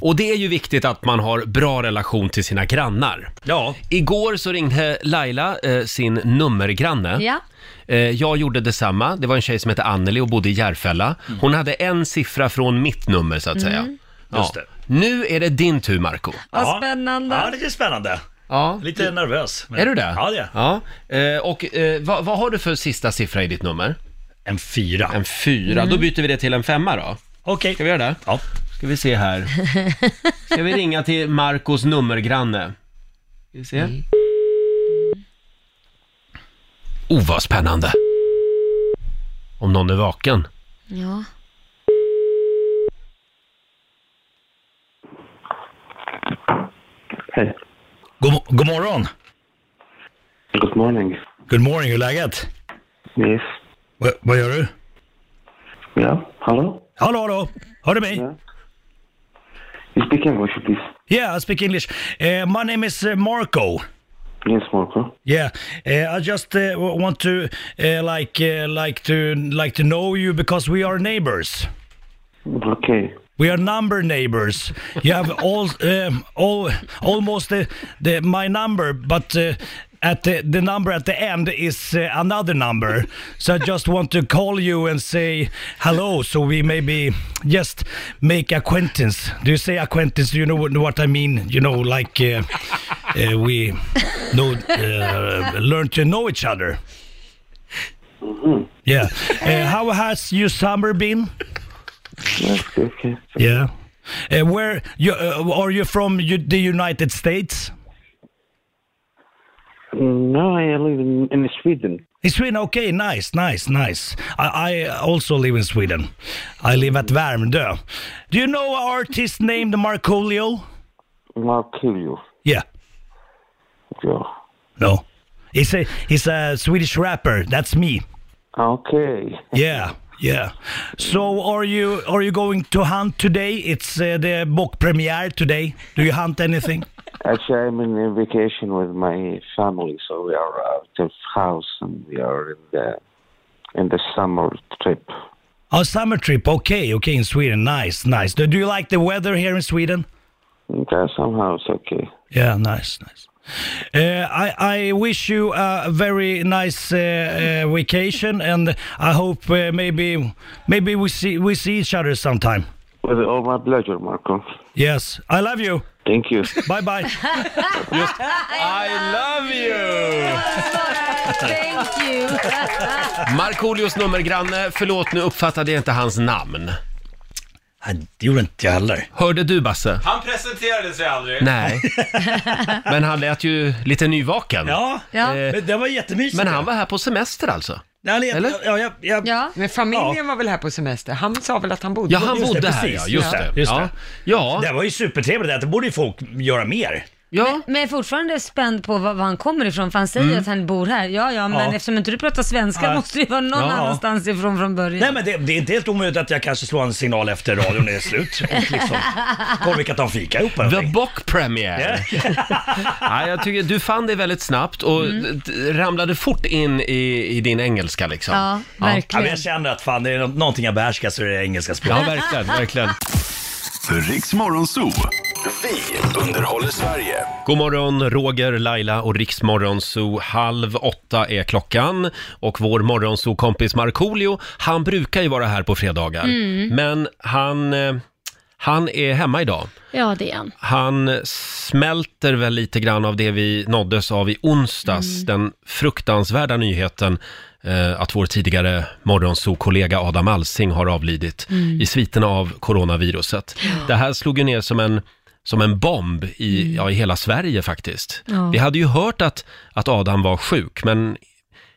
A: Och det är ju viktigt att man har bra relation till sina grannar. Ja. Igår så ringde Laila eh, sin nummergranne.
B: Ja.
A: Eh, jag gjorde detsamma. Det var en tjej som hette Anneli och bodde i Järfälla.
L: Mm.
A: Hon hade en siffra från mitt nummer så att
B: Mm.
A: säga.
L: Just det.
A: Nu är det din tur Marco.
B: Vad spännande.
L: Ja, det är spännande.
A: Ja.
L: Lite nervös. men-
A: Är du det?
L: Ja, det är jag.
A: Ja. Eh, och eh, vad, vad har du för sista siffra i ditt nummer? En fyra. En fyra.
L: Mm.
A: Då byter vi det till en femma då. Okej. Ska vi göra det? Ja. Ska vi se *laughs* här. Ska vi ringa till Marcos nummergranne? Ska vi se. Oh, vad spännande. Om någon är vaken.
B: Ja.
L: God, god morgon.
M: Good morning.
L: Good morning, hur är läget?
M: Yes.
L: Va, vad gör du?
M: Ja, hallå?
L: Hallå, hallå. Hör du mig?
M: You speak English, please.
L: Yeah, I speak English. Eh, my name is eh, Marco.
M: Yes, Marco.
L: Yeah, uh, I just uh, w- want to uh, like uh, like to like to know you because we are neighbors.
M: Okay.
L: We are number neighbors. You have *laughs* all um, all almost the, the my number, but uh, at the the number at the end is uh, another number. So I just want to call you and say hello, so we maybe just make acquaintance. Do you say acquaintance? You know what, what I mean? You know, like uh, uh, we know uh, learn to know each other.
M: Mm-hmm.
L: Yeah. Uh, how has your summer been?
M: Okay.
L: Yeah. Uh, where you uh, are you from? You, the United States?
M: Mm, No, I live in, in Sweden.
L: In Sweden? Okay, nice, nice, nice. I, I also live in Sweden. I live at Värmdö. Do you know an artist named Markolio?
M: Markoolio.
L: Yeah.
M: Yeah.
L: No. He's a he's a Swedish rapper. That's me.
M: Okay.
L: Yeah. Yeah. So are you are you going to hunt today? It's uh, the book premiere today. Do you hunt anything?
M: Actually, I'm in a vacation with my family, so we are out of house and we are in the in the summer trip.
L: Oh, summer trip. Okay, okay, in Sweden. Nice, nice. Do, do you like the weather here in Sweden?
M: Okay, somehow it's okay.
L: Yeah, nice, nice. Uh, I, I wish you a very nice uh, uh, vacation, and I hope uh, maybe maybe we see we see each other sometime.
M: With all my pleasure, Marco.
L: Yes, I love you.
M: Thank you.
L: Bye bye. *laughs*
A: I love you!
B: Thank you.
A: Markoolios nummergranne, förlåt nu uppfattade jag inte hans namn.
L: Det gjorde inte jag heller.
A: Hörde du Basse?
D: Han presenterade sig
A: *laughs*
D: aldrig.
A: Nej. Men han lät ju lite nyvaken. Eh,
L: Ja,
B: Ja.
L: men det var jättemysigt.
A: Men han var här på semester alltså? Eller?
L: Ja, ja, ja.
C: Men familjen var väl här på semester? Han sa väl att han bodde
A: Ja, han
C: Just det,
A: bodde här
C: precis.
A: ja, just
L: Ja.
A: det.
L: Just
A: ja.
L: det.
A: Ja.
L: Det var ju supertrevligt, det borde ju folk göra mer.
A: Ja.
G: Men, men fortfarande spänd på var, var han kommer ifrån, för han säger
L: Mm.
G: att han bor här. Ja, ja, men
L: Ja.
G: eftersom inte du pratar svenska
L: Nej.
G: måste det ju vara någon
L: Ja.
G: annanstans ifrån från början.
L: Nej men det, det är inte helt omöjligt att jag kanske slår en signal efter radion
A: *laughs*
L: är slut. Och liksom, kollar vi kan ta en fika ihop eller
A: The
L: någonting.
A: Bock Premiere! *laughs* Nej, jag tycker du fann dig väldigt snabbt och d- d- ramlade fort in i, i din engelska liksom.
L: Ja, men jag känner att fan, det är nå- någonting jag behärskar så är det engelska språket.
A: Ja, verkligen, verkligen.
N: Riks Morgonzoo. Vi underhåller Sverige.
A: God morgon, Roger, Laila och Riksmorgonzoo. Halv åtta är klockan och vår morgonzoo-kompis Markoolio, han brukar ju vara här på fredagar.
B: Mm.
A: Men han, eh, han är hemma idag.
B: Ja, det är han.
A: Han smälter väl lite grann av det vi nåddes av i onsdags,
B: Mm.
A: den fruktansvärda nyheten eh, att vår tidigare morgonsokollega Adam Alsing har avlidit
B: Mm.
A: i sviterna av coronaviruset. Det här slog ju ner som en som en bomb i, ja, i hela Sverige faktiskt.
B: Mm. Ja.
A: Vi hade ju hört att, att Adam var sjuk, men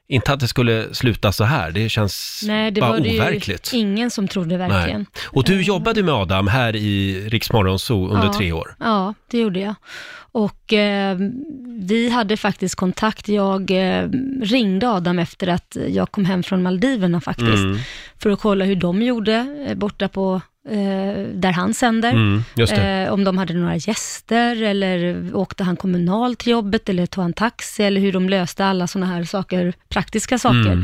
A: inte att det skulle sluta så här. Det känns
B: Nej, det
A: bara
B: var det
A: overkligt.
B: ju ingen som trodde verkligen.
A: Nej. Och du jobbade med Adam här i Riksmorgonzoo under
B: ja.
A: tre år.
B: Ja, det gjorde jag. Och eh, vi hade faktiskt kontakt. Jag eh, ringde Adam efter att jag kom hem från Maldiverna faktiskt,
A: Mm.
B: för att kolla hur de gjorde eh, borta på eh, där han sänder.
A: Mm, just det.
B: Eh, om de hade några gäster eller åkte han kommunalt till jobbet eller tog han taxi eller hur de löste alla sådana här saker, praktiska saker.
E: Mm.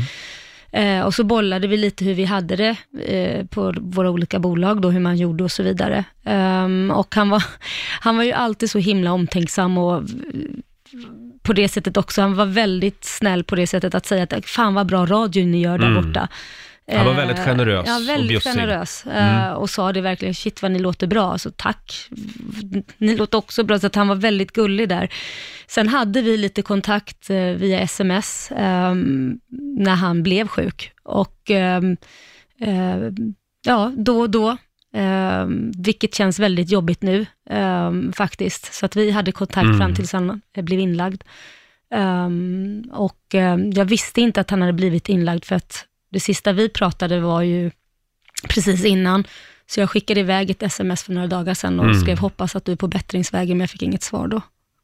B: Eh, och så bollade vi lite hur vi hade det eh, på våra olika bolag, då, hur man gjorde och så vidare. Ehm, och han var, *laughs* han var ju alltid så himla omtänksam och eh, på det sättet också. Han var väldigt snäll på det sättet att säga att fan vad bra radio ni gör där
A: Mm.
B: borta.
A: Han var
B: Eh,
A: väldigt generös
B: ja,
A: och
B: väldigt
A: bjussig.
B: generös.
A: Mm.
B: Eh, Och sa det verkligen, shit vad ni låter bra, så tack. Ni låter också bra, så att han var väldigt gullig där. Sen hade vi lite kontakt eh, via sms ehm, när han blev sjuk. Och ehm, ehm, ja, då och då. ehm, vilket känns väldigt jobbigt nu ehm, faktiskt. Så att vi hade kontakt
E: Mm.
B: fram tills han eh, blev inlagd. Ehm, och ehm, jag visste inte att han hade blivit inlagd för att det sista vi pratade var ju precis innan. Så jag skickade iväg ett sms för några dagar sedan och
E: Mm.
B: skrev hoppas att du är på bättringsvägen, men jag fick inget svar då.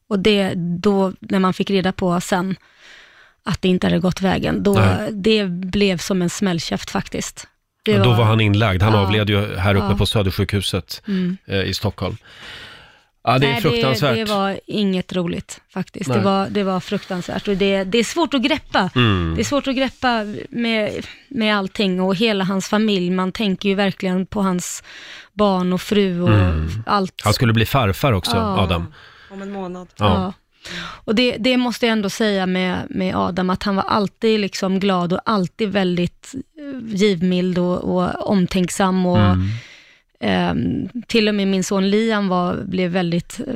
B: Och det, då, när man fick reda på sen att det inte hade gått vägen, då,
A: Nej.
B: det blev som en smällkäft faktiskt. Det
A: Ja, då var han inlagd. Han
B: Ja.
A: avled ju här uppe
B: Ja.
A: på Södersjukhuset
B: Mm.
A: eh, i Stockholm. Ja, det är
B: Nej,
A: fruktansvärt.
B: Det, det var inget roligt faktiskt.
A: Nej.
B: Det var, det var fruktansvärt och det, det är svårt att greppa.
A: Mm.
B: Det är svårt att greppa med, med allting och hela hans familj. Man tänker ju verkligen på hans barn och fru och
A: Mm.
B: allt.
A: Han skulle bli farfar också,
B: Ja.
A: Adam.
C: Om en månad.
A: Ja.
B: Ja. Och det, det måste jag ändå säga med, med Adam, att han var alltid liksom glad och alltid väldigt eh, givmild och, och omtänksam. Och,
E: Mm.
B: ehm, till och med min son Liam var, blev väldigt eh,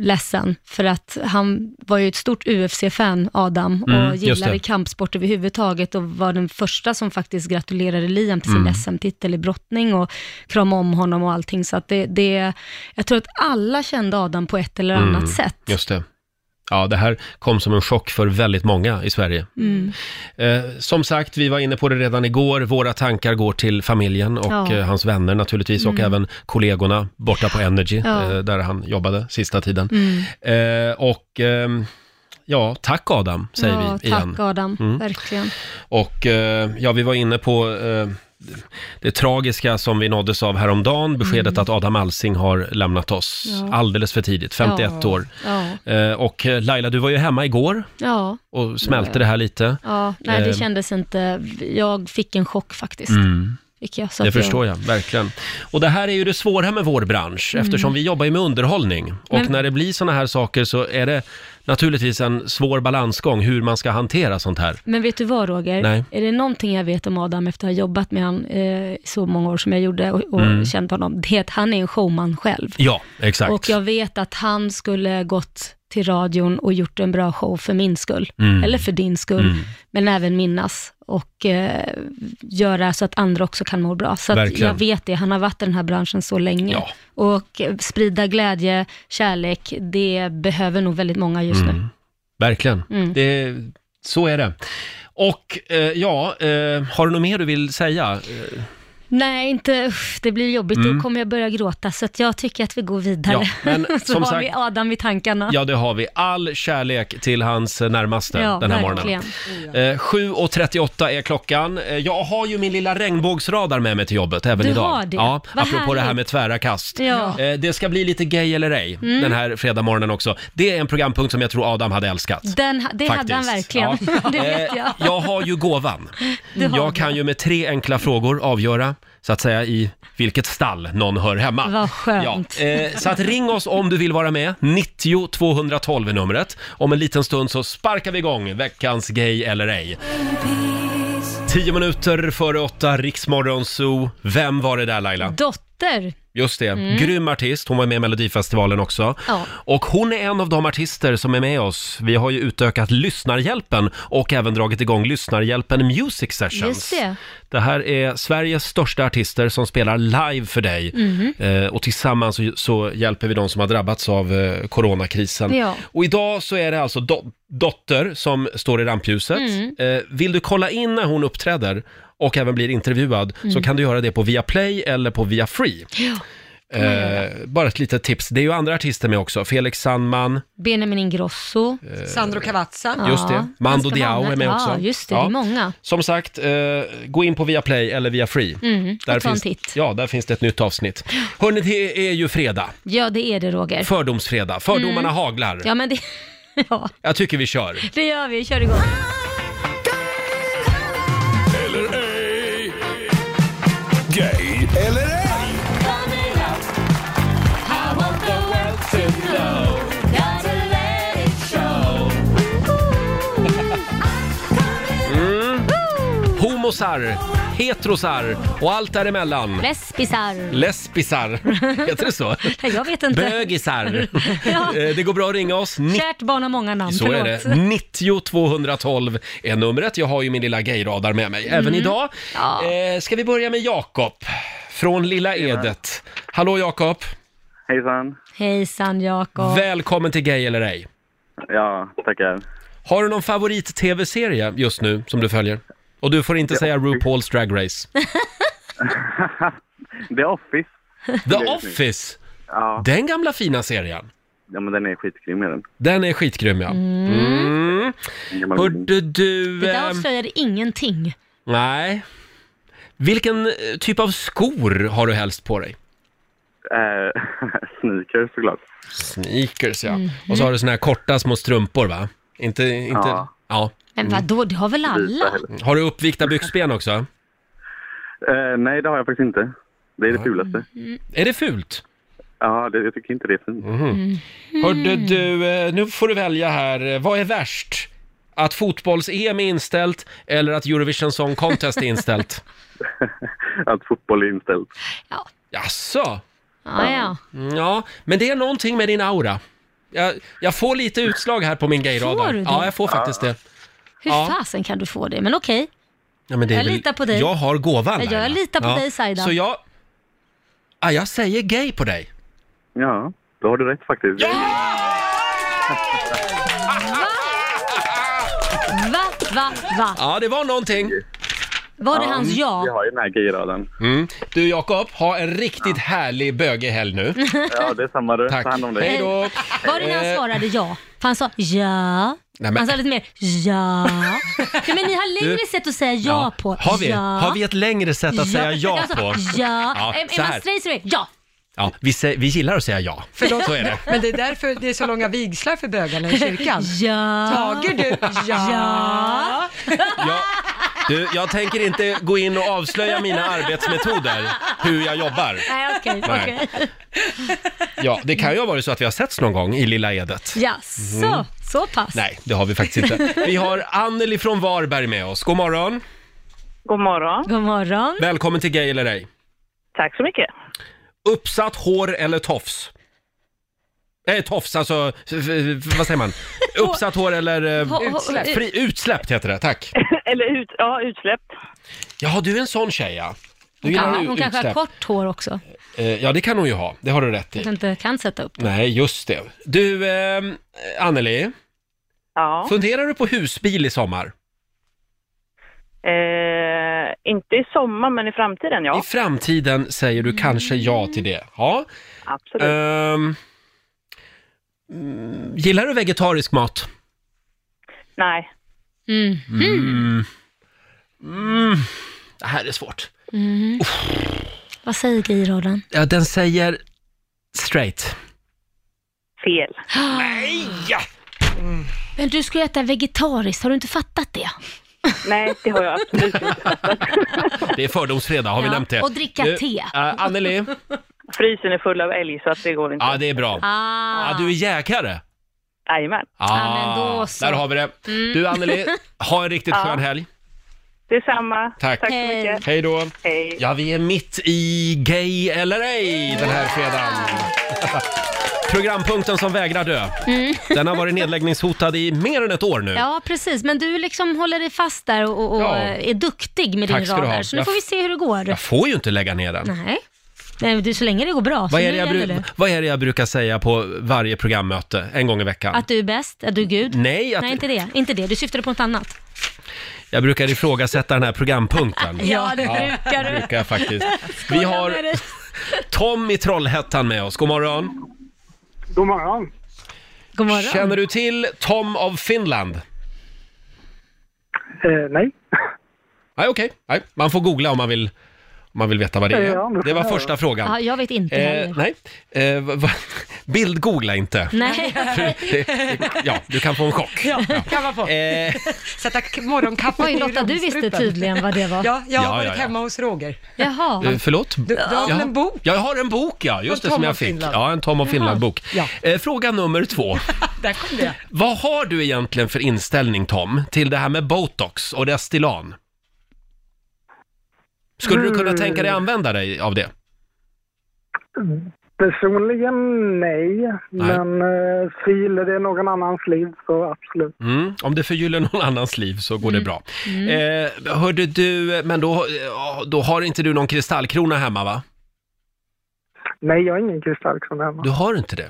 B: ledsen, för att han var ju ett stort UFC-fan, Adam, och
E: Mm, just det.
B: gillade kampsport överhuvudtaget och var den första som faktiskt gratulerade Liam till sin
E: Mm.
B: SM-titel i brottning och kramade om honom och allting. Så att det, det, jag tror att alla kände Adam på ett eller annat
A: Mm,
B: sätt.
A: Just det. Ja, det här kom som en chock för väldigt många i Sverige.
B: Mm.
A: Eh, som sagt, vi var inne på det redan igår. Våra tankar går till familjen och
B: Ja.
A: eh, hans vänner naturligtvis och
B: Mm.
A: även kollegorna borta på Energy
B: Ja. Mm.
A: eh, där han jobbade sista tiden. Eh, och ehm, ja, tack Adam säger
B: ja,
A: vi igen.
B: Tack Adam,
A: Mm.
B: verkligen.
A: Och eh, ja, vi var inne på eh, det tragiska som vi nåddes av häromdagen, beskedet
B: Mm.
A: att Adam Alsing har lämnat oss
B: Ja.
A: alldeles för tidigt, 51
B: Ja.
A: år.
B: Ja.
A: Eh, och eh, Laila, du var ju hemma igår
B: Ja.
A: och smälte det här lite.
B: Ja, nej det
A: Eh,
B: kändes inte, jag fick en chock faktiskt.
A: Mm.
B: Fick jag, så
A: Det
B: att jag-
A: förstår jag, verkligen. Och det här är ju det svåra med vår bransch,
B: Mm.
A: eftersom vi jobbar ju med underhållning. Och
B: Men-
A: när det blir såna här saker så är det naturligtvis en svår balansgång hur man ska hantera sånt här.
B: Men vet du vad Roger?
A: Nej.
B: Är det någonting jag vet om Adam efter att ha jobbat med han eh, så många år som jag gjorde och, och
A: Mm.
B: känt honom, det är att han är en showman själv.
A: Ja, exakt.
B: Och jag vet att han skulle gått till radion och gjort en bra show för min skull,
A: Mm.
B: eller för din skull,
A: Mm.
B: men även minnas och eh, göra så att andra också kan må bra. Så att
E: Verkligen.
B: jag vet det, han har varit i den här branschen så länge. Och eh, sprida glädje, kärlek, det behöver nog väldigt många just
A: Mm.
B: nu.
A: Verkligen.
B: Mm.
A: Det, så är det. Och eh, ja, eh, har du något mer du vill säga? Eh,
B: Nej, inte, uff, det blir jobbigt.
A: Mm.
B: Då kommer jag börja gråta, så att jag tycker att vi går vidare.
A: Ja, men
B: *laughs* så
A: som
B: har
A: sagt-
B: vi Adam vid tankarna.
A: Ja, det har vi. All kärlek till hans närmaste
B: Ja,
A: den här
B: verkligen.
A: morgonen. Eh, 7.38 är klockan. Eh, Jag har ju min lilla regnbågsradar med mig till jobbet även
B: Du
A: idag.
B: har det?
A: Ja,
B: Vad
A: apropå det här
B: härligt.
A: med tvära kast.
B: Ja.
A: Eh, Det ska bli lite gay eller ej
B: Mm.
A: den här fredag morgonen också. Det är en programpunkt som jag tror Adam hade älskat.
B: Den, ha- det hade han
A: Faktiskt.
B: verkligen.
A: Ja.
B: *laughs* Det vet
A: Eh,
B: jag.
A: Jag har ju gåvan.
B: Du har
A: Jag kan ju med tre enkla frågor avgöra, så att säga, i vilket stall någon hör hemma.
B: Vad skönt.
A: Ja, eh, så att ring oss om du vill vara med. 90 212 är numret. Om en liten stund så sparkar vi igång veckans Gay eller ej. Tio minuter före åtta, Riksmorgon Zoo. Vem var det där Laila?
B: Dotter.
A: Just det,
B: Mm.
A: grym artist. Hon var med i Melodifestivalen också.
B: Ja.
A: Och hon är en av de artister som är med oss. Vi har ju utökat Lyssnarhjälpen och även dragit igång Lyssnarhjälpen Music Sessions.
B: Just det.
A: Det här är Sveriges största artister som spelar live för dig.
B: Mhm.
A: Eh, och tillsammans så, så hjälper vi de som har drabbats av eh, coronakrisen.
B: Ja.
A: Och idag så är det alltså do- Dotter som står i rampljuset.
B: Mm.
A: Eh, vill du kolla in när hon uppträder och även blir intervjuad så
B: Mm.
A: kan du göra det på Viaplay eller på Via Free.
B: Ja.
A: Eh, bara ett litet tips. Det är ju andra artister med också. Felix Sandman,
B: Benjamin Ingrosso.
A: Eh.
C: Sandro Cavazza.
A: just det. Mando Diao är med
B: ja,
A: också.
B: Ja, just det. Det är många.
A: Som sagt, eh, gå in på Viaplay eller via Free.
B: Mm, och ta en
A: finns,
B: titt.
A: Ja, där finns det ett nytt avsnitt. Hörni, det är ju fredag.
B: Ja, det är det Roger.
A: Fördomsfredag. Fördomarna
B: Mm.
A: haglar.
B: Ja, men det, *laughs* ja,
A: Jag tycker vi kör.
B: det gör vi. Kör igång.
N: Gay eller ej?
A: Mm. Homosar, heterosar och allt däremellan.
B: Lesbisar. *laughs*
A: Lesbisar, heter det så?
B: Jag vet inte.
A: Bögisar.
B: *laughs* Ja.
A: Eh, Det går bra att ringa oss. Ni-
B: Kärt barn har många namn.
A: Så är
B: förlåt.
A: det. Mm. 90 212 är numret. Jag har ju min lilla gayradar med mig även
B: Mm.
A: idag. Eh, ska vi börja med Jakob från Lilla Edet. Hallå Jakob!
O: Hejsan!
B: Hejsan Jakob.
A: Välkommen till Gay eller ej.
O: Ja, tackar.
A: Har du någon favorit-tv-serie just nu som du följer? Och du får inte säga RuPaul's Drag Race.
O: *laughs* The Office.
A: The Office!
O: Ja.
A: Den gamla fina serien.
O: ja, men den är skitgrym är den.
A: Den är skitgrym ja. Mm. Hörde du...
B: Det där
A: ehm,
B: avslöjade ingenting.
A: Nej. Vilken eh, typ av skor har du helst på dig?
O: Eh, *laughs* sneakers såklart.
A: Sneakers ja. Och så har du såna här korta små strumpor va? Inte... inte...
O: Ja.
A: ja.
B: Men vadå, det har väl alla?
A: Har du uppvikta byxben också?
O: Eh, nej, det har jag faktiskt inte. Det är det fulaste.
A: Är det fult?
O: Ja, det, jag tycker inte det är fint.
A: Mm. Hörde du, eh, nu får du välja här. Eh, Vad är värst? Att fotbolls-EM är inställt eller att Eurovision Song Contest är inställt?
O: Att fotboll är inställt.
A: Jaså?
B: Ja, ja.
A: Ja, men det är någonting med din aura. Jag, jag får lite utslag här på min gayradar.
B: Får du det?
A: Ja, jag får faktiskt det.
B: Hur
A: Ja.
B: fasen kan du få det? Men okej.
A: Ja, men det är
B: Jag
A: väl-
B: litar på dig.
A: Jag har gåvan.
B: Jag
A: Laila.
B: litar på dig, Saida.
A: Så jag... Ah, jag säger gay på dig.
O: Ja, då har du rätt faktiskt.
B: Va, va, va?
A: Ja, det var någonting.
B: Var det hans
O: Vi
B: ja?
O: har ju den här gayraden.
A: Mm. Du Jakob, ha en riktigt härlig bögig helg nu.
O: *laughs*
B: Mm.
O: Ja, det är samma du.
A: Tack.
O: Ta hand om dig.
A: Hej då.
B: Var det när han
A: Eh.
B: svarade ja? För han sa ja.
A: Nej, men-
B: Han sa lite mer ja. Nej, men ni har längre
A: Du-
B: sätt att säga ja, på.
A: Har vi,
B: ja.
A: har vi ett längre sätt att säga ja
B: alltså,
A: på?
B: Ja.
A: Ja,
B: Är,
A: så
B: är
A: här.
B: man straight så är det ja.
A: Ja, vi, sä- vi gillar att säga ja.
C: Förlåt,
A: Så är det.
C: Men det är därför det är så långa vigslar för bögarna i kyrkan.
B: Ja.
C: Tager du? Ja.
B: Ja.
A: Du, jag tänker inte gå in och avslöja mina arbetsmetoder, hur jag jobbar.
B: Nej, okej.
A: Nej.
B: okej.
A: Ja, det kan ju ha varit så att vi har setts någon gång i Lilla Edet.
B: Jaså,
A: Mm.
B: så pass.
A: Nej, det har vi faktiskt inte. Vi har Anneli från Varberg med oss. God morgon.
P: God morgon.
B: God morgon.
A: Välkommen till Gay eller ej.
P: Tack så mycket.
A: Uppsatt hår eller tofs? Nej, tofs, alltså, f- f- vad säger man? Uppsatt hår eller... eh,
P: Ho- ho- Utsläppt.
A: Fri, utsläppt heter det, tack.
P: *laughs* Eller ut, ja, utsläppt.
A: Ja, du är en sån tjej ja. Du
B: Hon, kan,
A: gillar
B: hon
A: u-
B: kanske har
A: utsläpp.
B: kort hår också.
A: Eh, Ja, det kan hon ju ha. Det har du rätt i.
B: Kanske inte kan sätta upp.
A: Nej, just det. Du, eh, Anneli.
P: Ja.
A: Funderar du på husbil i sommar?
P: Eh, Inte i sommar, men i framtiden, ja.
A: I framtiden säger du kanske ja till det. Ja.
P: Absolut.
A: Ehm, mm, gillar du vegetarisk mat?
P: Nej.
A: Mm. Mm. Det här är svårt.
B: Mhm. Vad säger gayraden?
A: Ja, den säger straight.
P: Fel.
A: Nej!
B: Men du ska ju äta vegetariskt, har du inte fattat det?
P: Nej, det har jag absolut inte.
A: Det är fördomsfredag, har vi
B: Ja,
A: nämnt det?
B: och dricka
A: Du,
B: te.
A: äh, Anneli,
P: Frysen är full av älg, så att det går inte.
A: ja det är bra.
B: Ah.
A: Ja, du är jägare.
P: Jajamän.
A: Där har vi det.
P: Mm.
A: Du Anneli, ha en riktigt
P: Ja.
A: skön helg.
P: Detsamma.
A: Tack.
P: Tack så mycket.
A: Hej då.
P: Hej.
A: Ja, vi är mitt i Gay eller ej den här fredagen.
B: *laughs*
A: Programpunkten som vägrar dö.
B: Mm.
A: Den har varit nedläggningshotad i mer än ett år nu.
B: Ja, precis. Men du liksom håller dig fast där och, och, och
A: Ja.
B: är duktig med
A: Tack
B: din
A: ska du
B: rad
A: ha.
B: där. Så nu
A: Jag
B: får
A: f-
B: vi se hur det går.
A: Jag får ju inte lägga ner den.
B: Nej, Nej det, så länge det går bra.
A: Vad
B: så
A: är,
B: nu
A: det jag
B: gäller
A: bru- vad är det jag brukar säga på varje programmöte en gång i veckan?
B: Att du är bäst, att du är Gud.
A: Nej, att-
B: Nej inte det. Inte det. Du syftade på något annat.
A: Jag brukar ifrågasätta den här programpunkten.
B: *laughs* Ja, det brukar du.
A: det brukar jag
B: *laughs*
A: faktiskt. Vi har Tom i Trollhättan med oss. God morgon.
Q: God morgon.
B: God morgon.
A: Känner du till Tom av Finland?
Q: Eh, nej.
A: Nej, okej. Nej, man får googla om man vill, om man vill veta vad det
B: Ja,
A: är. Det var första
B: Ja,
A: frågan.
B: jag vet inte
A: Eh,
B: heller.
A: nej, eh, va- *laughs* va- bildgoogla inte.
B: Nej.
A: *laughs* Ja, du kan få en chock. Eh,
C: Ja, kan man få. Sätta k- morgonkaffet
B: Oj,
C: i
B: Lotta, du visste
C: rumstrupen.
B: tydligen vad det var.
C: Ja, jag har
A: Ja,
C: varit
A: ja, ja.
C: hemma hos Roger.
B: Jaha.
A: Eh, förlåt?
C: Du- du har väl
A: Jaha.
C: en bok?
A: Jag har en bok, ja. Just
C: En
A: det, som
C: Tom
A: jag
C: av
A: fick.
C: Finland.
A: Ja, en Tom av
C: Jaha.
A: Finland-bok.
C: Ja.
A: Eh, fråga nummer två.
C: *laughs* Där kom det.
A: Vad har du egentligen för inställning, Tom, till det här med botox och Restylane? Skulle du kunna
Q: Mm.
A: tänka dig använda dig av det?
Q: Personligen nej, men eh, fyller det någon annans liv så absolut.
A: Mm. Om det förgyller någon *laughs* annans liv så går det bra.
Q: Mm.
A: Eh, hörde du, men då, eh, då har inte du någon kristallkrona hemma va?
Q: Nej, jag är ingen kristallkrona hemma.
A: Du har inte det?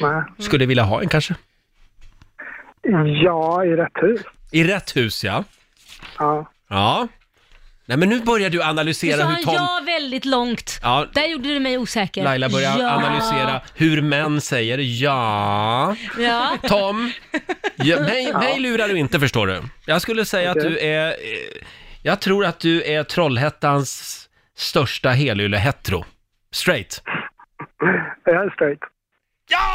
Q: Nej.
A: Skulle vilja ha en kanske?
Q: Ja, i rätt hus.
A: I rätt hus ja.
Q: Ja.
A: Ja. Nej men nu börjar du
B: Du
A: analysera
B: sa
A: hur Tom...
B: ja väldigt långt.
A: Ja,
B: Där gjorde du mig osäker.
A: Laila börjar
B: ja.
A: analysera hur män säger ja.
B: Ja.
A: Tom, ja, mig,
B: Ja.
A: mig lurar du inte förstår du. Jag skulle säga att
Q: Okej.
A: du är... eh, Jag tror att du är Trollhättans största helylle-hetero. Straight.
Q: Jag är straight.
B: Ja,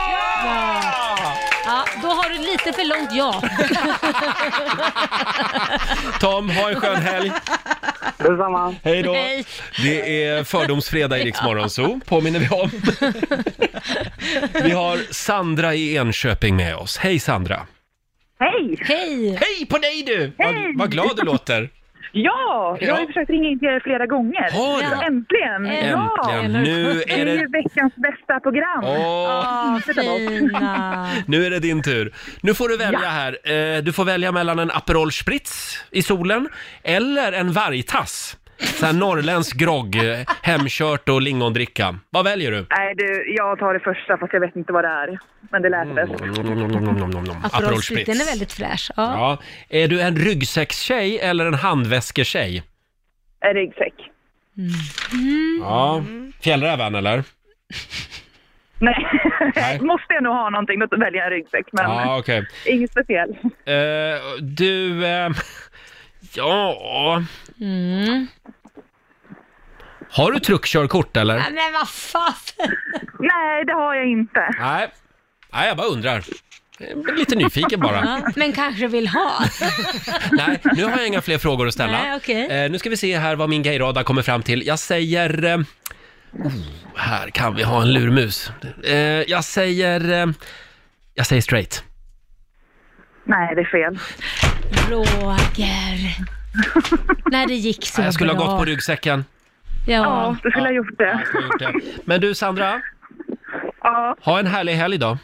B: då har du lite för långt ja.
A: Tom, ha en skön helg.
Q: Detsamma.
A: Hej *laughs* då.
B: Hej.
A: Det är fördomsfredag i Rix Morgonzoo, påminner vi om. Vi har Sandra i Enköping med oss. Hej Sandra!
R: Hej!
B: Hej!
A: Hej på dig du! Hej! Vad glad du låter!
R: Ja, jag har ju
A: Ja.
R: försökt ringa in till er flera gånger.
A: Har du?
R: Ja, Äntligen!
A: Äntligen. Nu är
R: det är
A: det-
R: ju veckans bästa program.
A: Åh.
R: Inte ta bort.
A: Nu är det din tur. Nu får du välja här. Eh, Du får välja mellan en Aperol Spritz i solen eller en vargtass. Så här norrländsk grogg, eh, hemkört och lingondricka. Vad väljer du?
R: Nej du, jag tar det första fast jag vet inte vad det är. Men det lät bäst.
A: Aperol
B: Den är
A: Spritz.
B: väldigt fräsch. Ja.
A: Ja. Är du en ryggsäckstjej eller en handväsketjej?
R: En ryggsäck.
A: Ja. Fjällräven eller?
R: Nej, *laughs* måste jag nog ha någonting då väljer jag en ryggsäck. Men
A: Ja, okej.
R: inget speciellt.
A: Eh, du, eh, *laughs* ja...
B: Mm.
A: Har du truckkörkort eller?
B: Nej, Men vad fan!
R: Nej, det har jag inte.
A: Nej. Nej, jag bara undrar. Jag blir Lite nyfiken bara.
B: Ja, men kanske vill ha.
A: Nej, nu har jag inga fler frågor att ställa.
B: Nej, okej.
A: eh, nu ska vi se här vad min gayrada kommer fram till. Jag säger... Eh, oh, här kan vi ha en lurmus. Eh, jag säger... Eh, jag säger straight.
R: Nej, det är fel.
B: Roger. Nej, det gick så
A: jag skulle
B: bra.
A: ha gått på ryggsäcken.
B: Ja,
R: ja du skulle ha gjort det.
A: Men du Sandra,
R: Ja,
A: ha en härlig helg idag.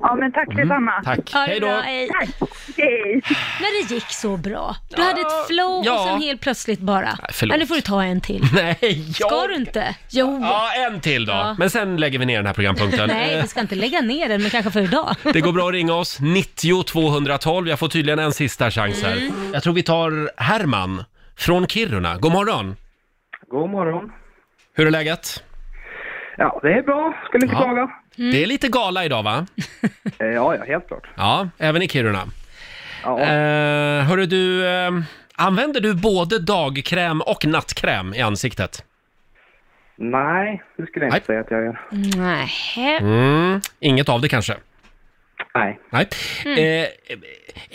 R: ja men Mm. tack detsamma.
A: Tack. Ja, det är Hej då. bra, hej.
R: Tack. Hej.
B: När det gick så bra. Du hade ett flow
A: ja.
B: och sen helt plötsligt bara.
A: förlåt.
B: nu får du ta
A: *laughs*
B: en till.
A: Nej, jag...
B: Ska du inte? Jo.
A: Ja, en till då.
B: Ja.
A: Men sen lägger vi ner den här programpunkten.
B: Nej,
A: Eh,
B: vi ska inte lägga ner den, men kanske
A: *laughs*
B: för idag.
A: Det går bra att ringa oss, 90 212. Jag får tydligen en sista chans här.
B: Mm.
A: Jag tror vi tar Herman från Kiruna. God morgon!
S: God morgon.
A: Hur är läget?
S: Ja, det är bra. Skulle inte
A: Ja.
S: klaga.
B: Mm.
A: Det är lite gala idag va?
S: Eh, Ja, ja, helt klart.
A: Ja, även i Kiruna. Eh, hörru du, eh, använder du både dagkräm och nattkräm i ansiktet?
S: Nej, det skulle jag inte säga att jag gör.
B: Nej.
A: Mm, inget av det kanske?
S: Nej.
A: Nej.
B: Mm.
A: Eh,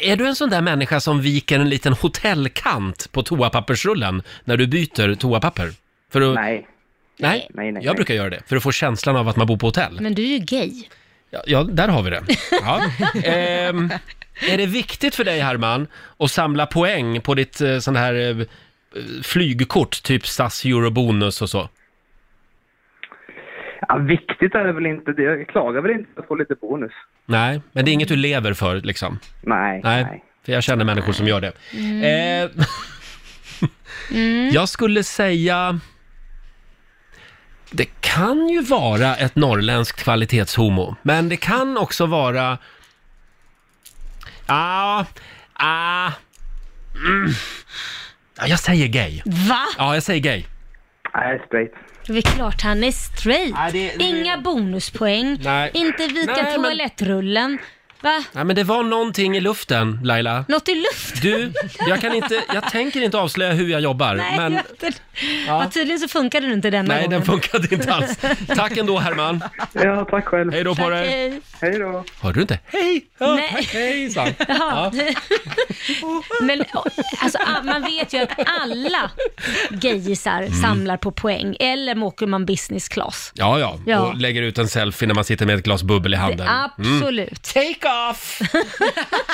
A: är du en sån där människa som viker en liten hotellkant på toapappersrullen när du byter toapapper? För att...
S: Nej.
A: Nej, jag brukar göra det för att få känslan av att man bor på hotell.
B: Men du är ju gay.
A: Ja, ja där har vi det.
B: *laughs*
A: Ja. Ehm, är det viktigt för dig, Herman, att samla poäng på ditt eh, sån här eh, flygkort, typ SAS Eurobonus och så?
S: Ja, viktigt är det väl inte. Det- Jag klagar väl inte att få lite bonus.
A: Nej, men det är inget du lever för liksom?
S: Nej.
A: Nej, för jag känner människor som gör det.
B: Mm.
A: Eh, *laughs* Jag skulle säga... Det kan ju vara ett norrländskt kvalitetshomo, men det kan också vara... Ah, ah, mm. ja, jag säger gay.
B: Va?
A: Ja, jag säger gay.
S: Nej, straight.
B: Det är klart han är straight. Inga bonuspoäng,
A: Nej.
B: inte vika
A: Nej, men-
B: toalettrullen. Va?
A: Nej, men det var någonting i luften, Laila.
B: Något i luften?
A: Du, jag kan inte, jag tänker inte avslöja hur jag jobbar,
B: Nej,
A: *laughs* men
B: jag vet inte.
A: Ja.
B: Ja, tydligen så funkade det inte denna
A: nej,
B: gången.
A: den funkade inte alls. Tack ändå, Herman.
S: Ja, tack själv.
A: Hej då på dig.
B: Hej.
S: Hej då.
A: Hörde du inte? Hej!
B: Nej.
A: Hejsan!
B: Jaha. *laughs* Men alltså, ah, man vet ju att alla gayisar
A: Mm.
B: samlar på poäng, eller åker man business class.
A: Ja, ja,
B: Ja.
A: och lägger ut en selfie när man sitter med ett glas bubbel i handen. Mm.
B: Absolut.
A: Take off!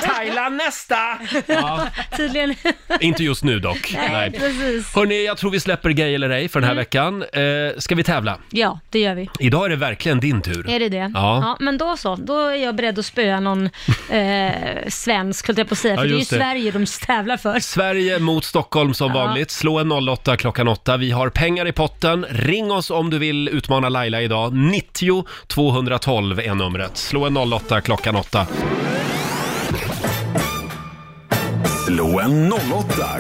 A: Thailand nästa!
B: Ja.
A: Ja.
B: Tydligen. *laughs*
A: Inte just nu dock. Nej.
B: precis.
A: Hörni, jag tror vi släpper Gay eller ej för den här veckan. Eh, ska vi tävla?
B: Ja, det gör vi.
A: Idag är det verkligen din tur.
B: Är det det?
A: Ja.
B: men då så. Då är jag beredd att
A: *laughs*
B: spöa någon eh, svensk, höll jag på att säga.
A: Ja,
B: för det är ju
A: just det.
B: Sverige de tävlar för.
A: Sverige mot Stockholm som
B: Ja.
A: vanligt. Slå en 08 klockan 8. Vi har pengar i potten. Ring oss om du vill utmana Laila idag. 90 212 är numret. Slå en 08 klockan 8.
N: Slå en 08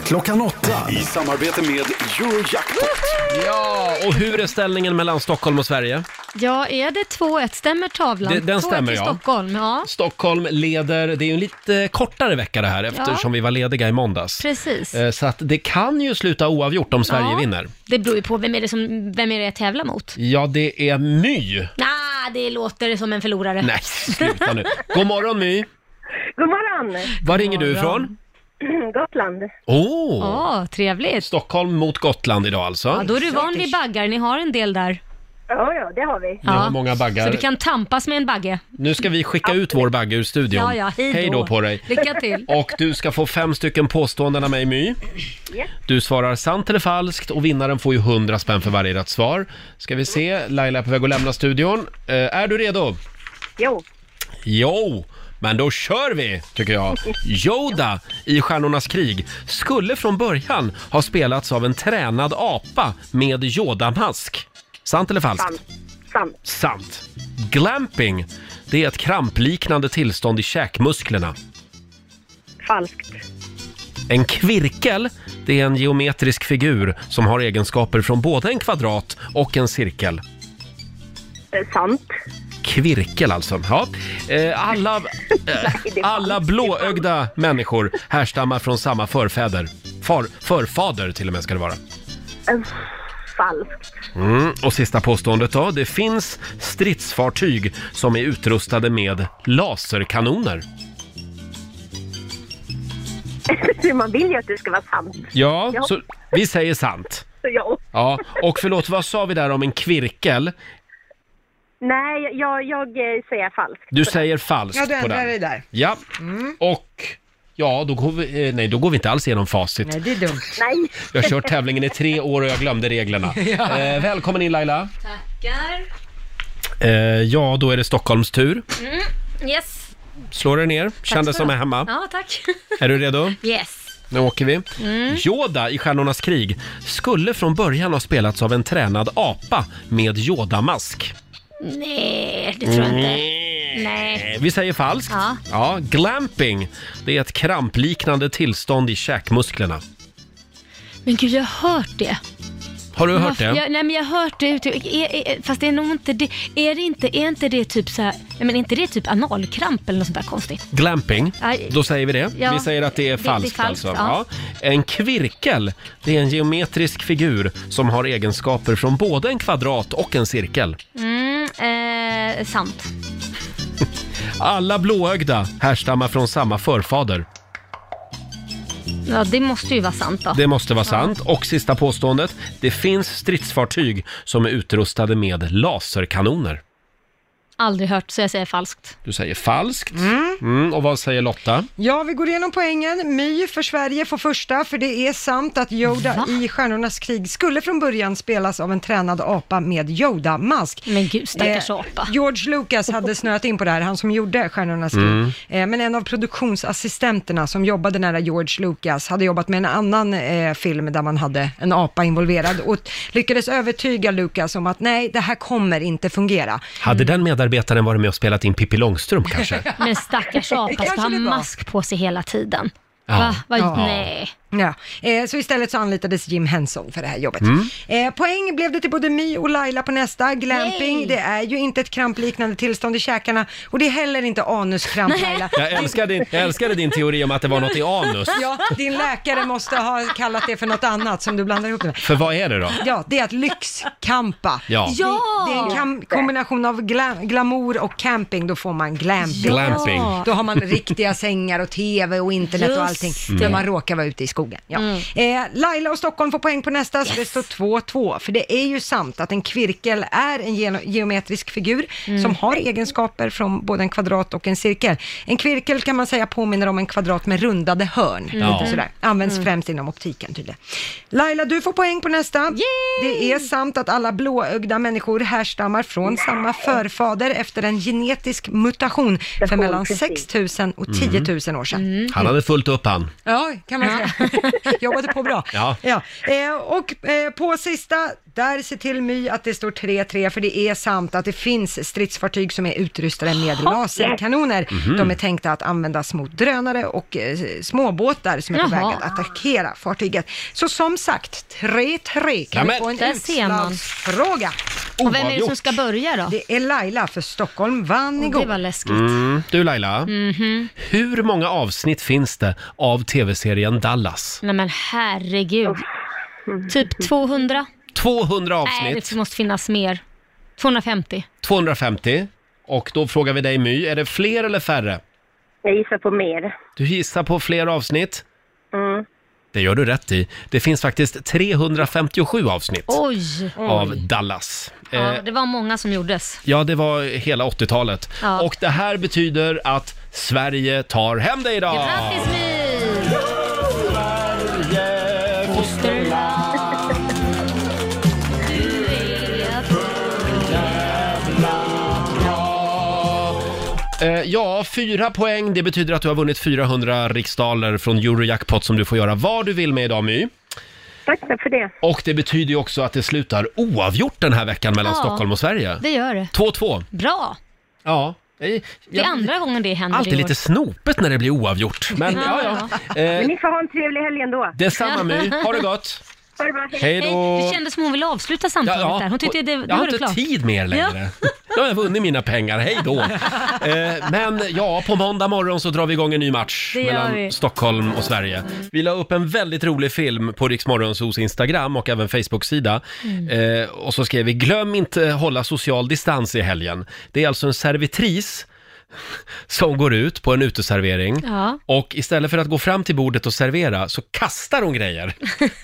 N: klockan 8 i samarbete med Eurojackpot.
A: Ja, och hur är ställningen mellan Stockholm och Sverige?
B: Ja, är det 2-1? Stämmer tavlan?
A: Det- den
B: 2-1
A: stämmer,
B: till
A: ja.
B: Stockholm, ja.
A: Stockholm leder, det är ju en lite kortare vecka det här eftersom vi var lediga i måndags.
B: Precis.
A: Eh, Så att det kan ju sluta oavgjort om Sverige
B: Ja.
A: vinner.
B: Det beror ju på vem är det, som, vem är det jag tävlar mot.
A: Ja, det är My.
B: Ah, det låter som en förlorare.
A: Nej, sluta nu. God morgon My.
T: God morgon! *clears throat*
A: Var ringer du ifrån?
T: Gotland.
A: Åh!
B: Ja, trevligt.
A: Stockholm mot Gotland idag alltså.
B: Ja, då är du van vid baggar, ni har en del där.
T: Ja, ja, det har vi.
A: Ni har många baggar.
B: Så du kan tampas med en bagge.
A: Nu ska vi skicka ut vår bagge ur studion.
B: Ja, ja, hej då.
A: då på dig.
B: Lycka till.
A: Och du ska få fem stycken påståenden av mig My. Du svarar sant eller falskt och vinnaren får ju 100 spänn för varje rätt svar. Ska vi se, Laila är på väg att lämna studion. Eh, är du redo?
T: Jo.
A: Jo, men då kör vi, tycker jag. Yoda i Stjärnornas krig skulle från början ha spelats av en tränad apa med Yoda-mask. Sant eller falskt?
T: Sant. Sant.
A: Sant. Glamping, det är ett krampliknande tillstånd i käkmusklerna.
T: Falskt.
A: En kvirkel, det är en geometrisk figur som har egenskaper från både en kvadrat och en cirkel.
T: Eh, Sant.
A: Kvirkel alltså. Ja.
T: *laughs*
A: Eh, Alla, eh, alla blåögda människor härstammar från samma förfäder. Far, förfader till och med ska det vara.
T: Eh, Falskt.
A: Mm. Och sista påståendet då. Det finns stridsfartyg som är utrustade med laserkanoner.
T: *laughs* Man vill ju att det ska vara sant.
A: Ja,
T: Ja.
A: så vi säger sant.
T: Ja.
A: Ja, och förlåt, vad sa vi där om en kvirkel?
T: Nej, jag, jag eh, säger falskt.
A: Du säger falskt
T: Ja, du
A: på
T: ändrar
A: den.
T: dig där. Mm.
A: Ja, och ja, då går vi, eh, nej, då går vi inte alls igenom facit.
T: det är dumt. Nej.
A: Jag har kört tävlingen i tre år och jag glömde reglerna.
B: Ja.
A: Eh, välkommen in Laila.
B: Tackar.
A: Eh, ja, då är det Stockholms tur.
B: Mm, yes.
A: Slår dig ner, känn dig
B: Tack ska
A: som
B: du
A: är
B: ha.
A: hemma.
B: Ja, tack.
A: Är du redo?
B: Yes.
A: Nu åker vi.
B: Mm.
A: Yoda i Stjärnornas krig skulle från början ha spelats av en tränad apa med Yoda-mask.
B: Nej, Eh, det tror jag
A: Mm.
B: inte. Nej.
A: Eh, Vi säger falskt.
B: Ja.
A: ja. Glamping, det är ett krampliknande tillstånd i käkmusklerna.
B: Men gud, jag har hört det.
A: Har du hört
B: Jag,
A: det?
B: nej, men jag har hört det. ute- Är, är, fast det är nog inte det. Är det inte, är inte det typ så här, nej, men är inte det typ analkramp eller något sånt där konstigt?
A: Glamping,
B: Nej.
A: då säger vi det.
B: Ja.
A: Vi säger att det är
B: Det- det är
A: falskt,
B: falskt,
A: alltså.
B: ja.
A: Ja. En kvirkel, det är en geometrisk figur som har egenskaper från både en kvadrat och en cirkel.
B: Mm, eh, sant.
A: Alla blåögda härstammar från samma förfader.
B: Ja, det måste ju vara sant då.
A: Det måste vara sant. Och sista påståendet, det finns stridsfartyg som är utrustade med laserkanoner.
B: Aldrig hört, så jag säger falskt.
A: Du säger falskt. Mm, och vad säger Lotta?
C: Ja, vi går igenom poängen. My för Sverige får första, för det är sant att Yoda i Stjärnornas krig skulle från början spelas av en tränad apa med Yoda-mask.
B: Men gud, stackars apa.
C: Eh, George Lucas hade snöat in på det här, han som gjorde Stjärnornas krig.
B: Mm.
C: Eh, men en av produktionsassistenterna som jobbade nära George Lucas hade jobbat med en annan eh, film där man hade en apa involverad och t- lyckades övertyga Lucas om att nej, det här kommer inte fungera.
A: Hade den medarbetaren varit med och spelat in Pippi Långstrump kanske?
B: *laughs* Men stackars apa
C: Kanske
B: ska ha
C: det var.
B: mask på sig hela tiden.
A: Ja.
B: Va? Va?
A: Ja.
B: Nej.
C: Ja. Eh, så istället så anlitades Jim Henson för det här jobbet.
A: Mm.
C: Eh, poäng blev det till både My och Laila på nästa. Glamping, det är ju inte ett krampliknande tillstånd i käkarna och det är heller inte anuskramp Laila.
A: Jag älskar, din, jag älskade din teori om att det var något i anus.
C: Ja, din läkare måste ha kallat det för något annat som du blandar ihop det med.
A: För vad är det då?
C: Ja, det är att lyxkampa.
A: Ja.
C: Det, det är en kam- kombination av gla- glamour och camping, då får man glamping.
A: Glamping.
C: Då har man riktiga sängar och tv och internet och
B: Just
C: allting,
B: det.
C: när man råkar vara ute i skogen. Ja.
E: Mm.
C: Eh, Laila och Stockholm får poäng på nästa, så det står 2-2. För det är ju sant att en kvirkel är en geno- geometrisk figur
E: Mm.
C: som har egenskaper från både en kvadrat och en cirkel. En kvirkel kan man säga påminner om en kvadrat med rundade hörn.
E: Mm.
C: Lite
E: Ja.
C: sådär. Används
E: Mm.
C: främst inom optiken tydligen. Laila, du får poäng på nästa. Det är sant att alla blåögda människor härstammar från samma förfader efter en genetisk mutation för mellan 6 000 och
E: Mm.
C: 10 000 år sedan.
B: Mm.
A: Han hade fullt upp han.
C: Ja, kan man säga. *laughs* Jobbade på bra.
A: Ja.
C: Eh, och eh, på sista, där ser till My att det står 3-3, för det är sant att det finns stridsfartyg som är utrustade med laserkanoner.
E: Mhm.
C: De är tänkta att användas mot drönare och eh, småbåtar som är på väg
E: Jaha.
C: att attackera fartyget. Så som sagt, 3-3 kan
E: Jamen.
C: vi få en
E: Där ser man.
C: utslagsfråga.
B: Och vem är det som ska börja då?
C: Det är Laila, för Stockholm vann igår.
B: Det var läskigt.
A: Mm. Du Laila,
B: Mhm.
A: hur många avsnitt finns det av tv-serien Dallas?
B: Nej men herregud. Typ 200?
A: 200
B: Nej,
A: avsnitt,
B: det måste finnas mer. 250.
A: 250. Och då frågar vi dig My, är det fler eller färre?
T: Jag gissar på mer.
A: Du gissar på fler avsnitt?
T: Mm.
A: Det gör du rätt i. Det finns faktiskt 357 avsnitt
B: Oj!
A: av Dallas. Eh,
B: Ja, det var många som gjordes.
A: Ja, det var hela 80-talet.
B: Ja.
A: Och det här betyder att Sverige tar hem det idag!
B: Grattis My!
A: Eh, ja, fyra poäng. Det betyder att du har vunnit 400 riksdaler från Eurojackpot som du får göra vad du vill med idag My.
T: Tack för det.
A: Och det betyder ju också att det slutar oavgjort den här veckan mellan
B: Ja,
A: Stockholm och Sverige.
B: Det gör det.
A: 2-2.
B: Bra!
A: Ja. Jag,
B: Det är andra gången det händer
A: alltid
B: i år.
A: lite snopet när det blir oavgjort. Men ja, ja.
T: Men
A: Eh,
T: ni får ha en trevlig helg ändå.
A: detsamma My. Ha det gott!
T: Ha det bra.
A: Hej då.
B: Det kändes som hon ville avsluta samtalet
A: Ja, ja.
B: där. Hon tyckte det, det
A: jag har
B: var det
A: inte
B: klart.
A: tid mer längre. *laughs* Nu har jag vunnit mina pengar, hej
B: *laughs*
A: då. Eh, men ja, på måndag morgon så drar vi igång en ny match
B: Det gör
A: mellan
B: vi.
A: Stockholm och Sverige. Vi la upp en väldigt rolig film på Riksmorgonsos Instagram och även Facebook-sida.
D: Mm.
A: Eh, och så skrev vi, glöm inte hålla social distans i helgen. Det är alltså en servitris *laughs* som går ut på en uteservering
B: Ja.
A: och istället för att gå fram till bordet och servera så kastar hon grejer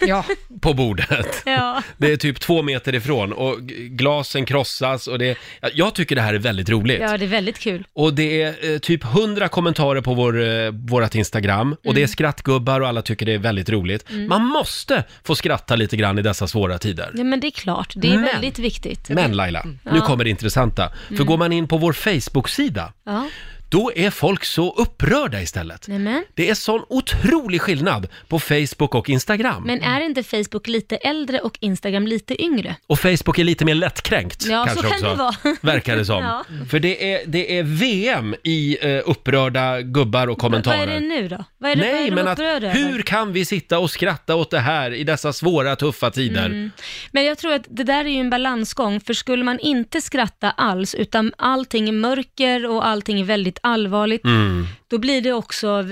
C: ja.
A: på bordet.
B: Ja.
A: Det är typ två meter ifrån och g- glasen krossas och det... Jag tycker det här är väldigt roligt.
B: ja, det är väldigt kul.
A: Och det är eh, typ 100 kommentarer på vår, eh, vårat Instagram och det är
B: Mm.
A: skrattgubbar och alla tycker det är väldigt roligt.
B: Mm.
A: Man måste få skratta lite grann i dessa svåra tider.
B: Ja, men det är klart. Det är
A: Men-
B: väldigt viktigt.
A: Men Laila,
B: Mm.
A: nu
B: Ja.
A: kommer det intressanta. För
B: Mm.
A: går man in på vår Facebook-sida
B: Ja.
A: då är folk så upprörda istället.
B: Nämen.
A: Det är sån otrolig skillnad på Facebook och Instagram.
B: Men är inte Facebook lite äldre och Instagram lite yngre?
A: Och Facebook är lite mer lättkränkt
B: Ja,
A: kanske
B: så kan
A: också,
B: det vara.
A: verkar det som.
B: *laughs* Ja.
A: För det är, det är VM i eh, upprörda gubbar och kommentarer.
B: Vad är det nu då? Vad är det, vad är
A: Nej,
B: de
A: men att,
B: upprörda över?
A: hur kan vi sitta och skratta åt det här i dessa svåra, tuffa tider?
B: Mm. Men jag tror att det där är ju en balansgång, för skulle man inte skratta alls, utan allting är mörker och allting är väldigt allvarligt,
E: Mm.
B: då blir det också,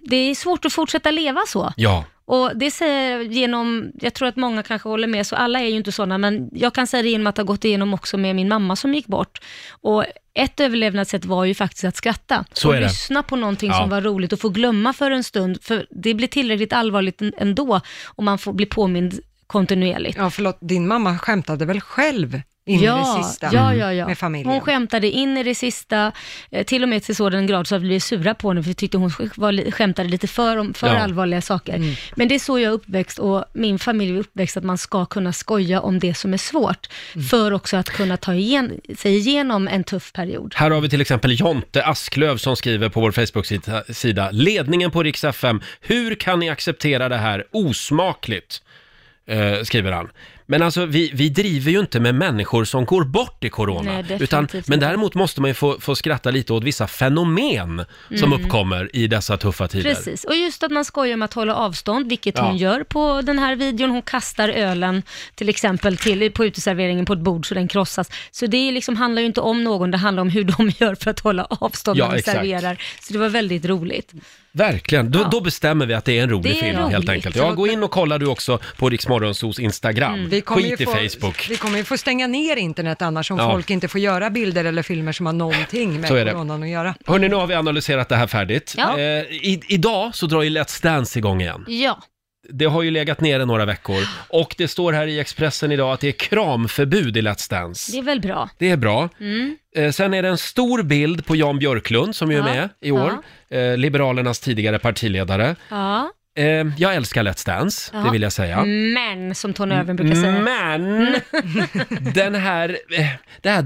B: det är svårt att fortsätta leva så.
A: Ja.
B: Och det säger jag genom, jag tror att många kanske håller med, så alla är ju inte sådana, men jag kan säga det genom att ha gått igenom också med min mamma som gick bort. Och ett överlevnadssätt var ju faktiskt att skratta.
E: Så
B: och
E: är det.
B: lyssna på någonting
E: Ja.
B: som var roligt och få glömma för en stund, för det blir tillräckligt allvarligt en- ändå om man får bli påmind kontinuerligt.
C: Ja, förlåt, din mamma skämtade väl själv in i det sista
B: ja, ja, ja.
C: med familjen?
B: Hon skämtade in i det sista, eh, till och med till sådan grad så att vi blev sura på henne, för vi tyckte hon sk- var, li- skämtade lite för, om, för
E: Ja.
B: allvarliga saker.
C: Mm.
B: Men det är så jag är uppväxt och min familj är uppväxt att man ska kunna skoja om det som är svårt,
C: Mm.
B: för också att kunna ta igen, sig igenom en tuff period.
A: Här har vi till exempel Jonte Asklöv som skriver på vår Facebook-sida, ledningen på Rix FM, hur kan ni acceptera det här osmakligt? Eh, skriver han. Men alltså, vi, vi driver ju inte med människor som går bort i corona.
B: Nej, definitivt
A: utan,
B: inte.
A: men däremot måste man ju få, få skratta lite åt vissa fenomen som
B: Mm.
A: uppkommer i dessa tuffa tider.
B: Precis, och just att man skojar med att hålla avstånd, vilket
A: Ja.
B: hon gör på den här videon. Hon kastar ölen till exempel till, på uteserveringen på ett bord så den krossas. Så det är liksom, handlar ju inte om någon, det handlar om hur de gör för att hålla avstånd
A: Ja,
B: när de
A: exakt.
B: serverar. Så det var väldigt roligt.
A: Verkligen, då,
B: Ja.
A: då bestämmer vi att det är en rolig
B: Det är
A: film
B: roligt.
A: helt enkelt. Ja, gå in och kolla du också på Rix Morgonzos Instagram.
B: Mm.
C: Vi kommer
A: Skit
C: ju
A: i
C: få,
A: Facebook.
C: Vi kommer ju få stänga ner internet annars om
A: Ja.
C: folk inte får göra bilder eller filmer som har någonting med
A: Så är det.
C: coronan att göra.
A: Hörni, nu har vi analyserat det här färdigt.
C: Ja.
A: Eh, i, idag så drar ju Let's Dance igång igen.
B: Ja.
A: Det har ju legat nere några veckor och det står här i Expressen idag att det är kramförbud i Let's Dance.
B: Det är väl bra.
A: Det är bra.
B: Mm.
A: Eh, sen är det en stor bild på Jan Björklund som ju är
B: Ja.
A: med i år, eh, Liberalernas tidigare partiledare.
B: Ja.
A: Eh, jag älskar Let's Dance,
B: ja.
A: det vill jag säga.
B: Men, som Tony Irving brukar
A: Mm.
B: säga. Mm.
A: Men, *laughs* den här, eh, det här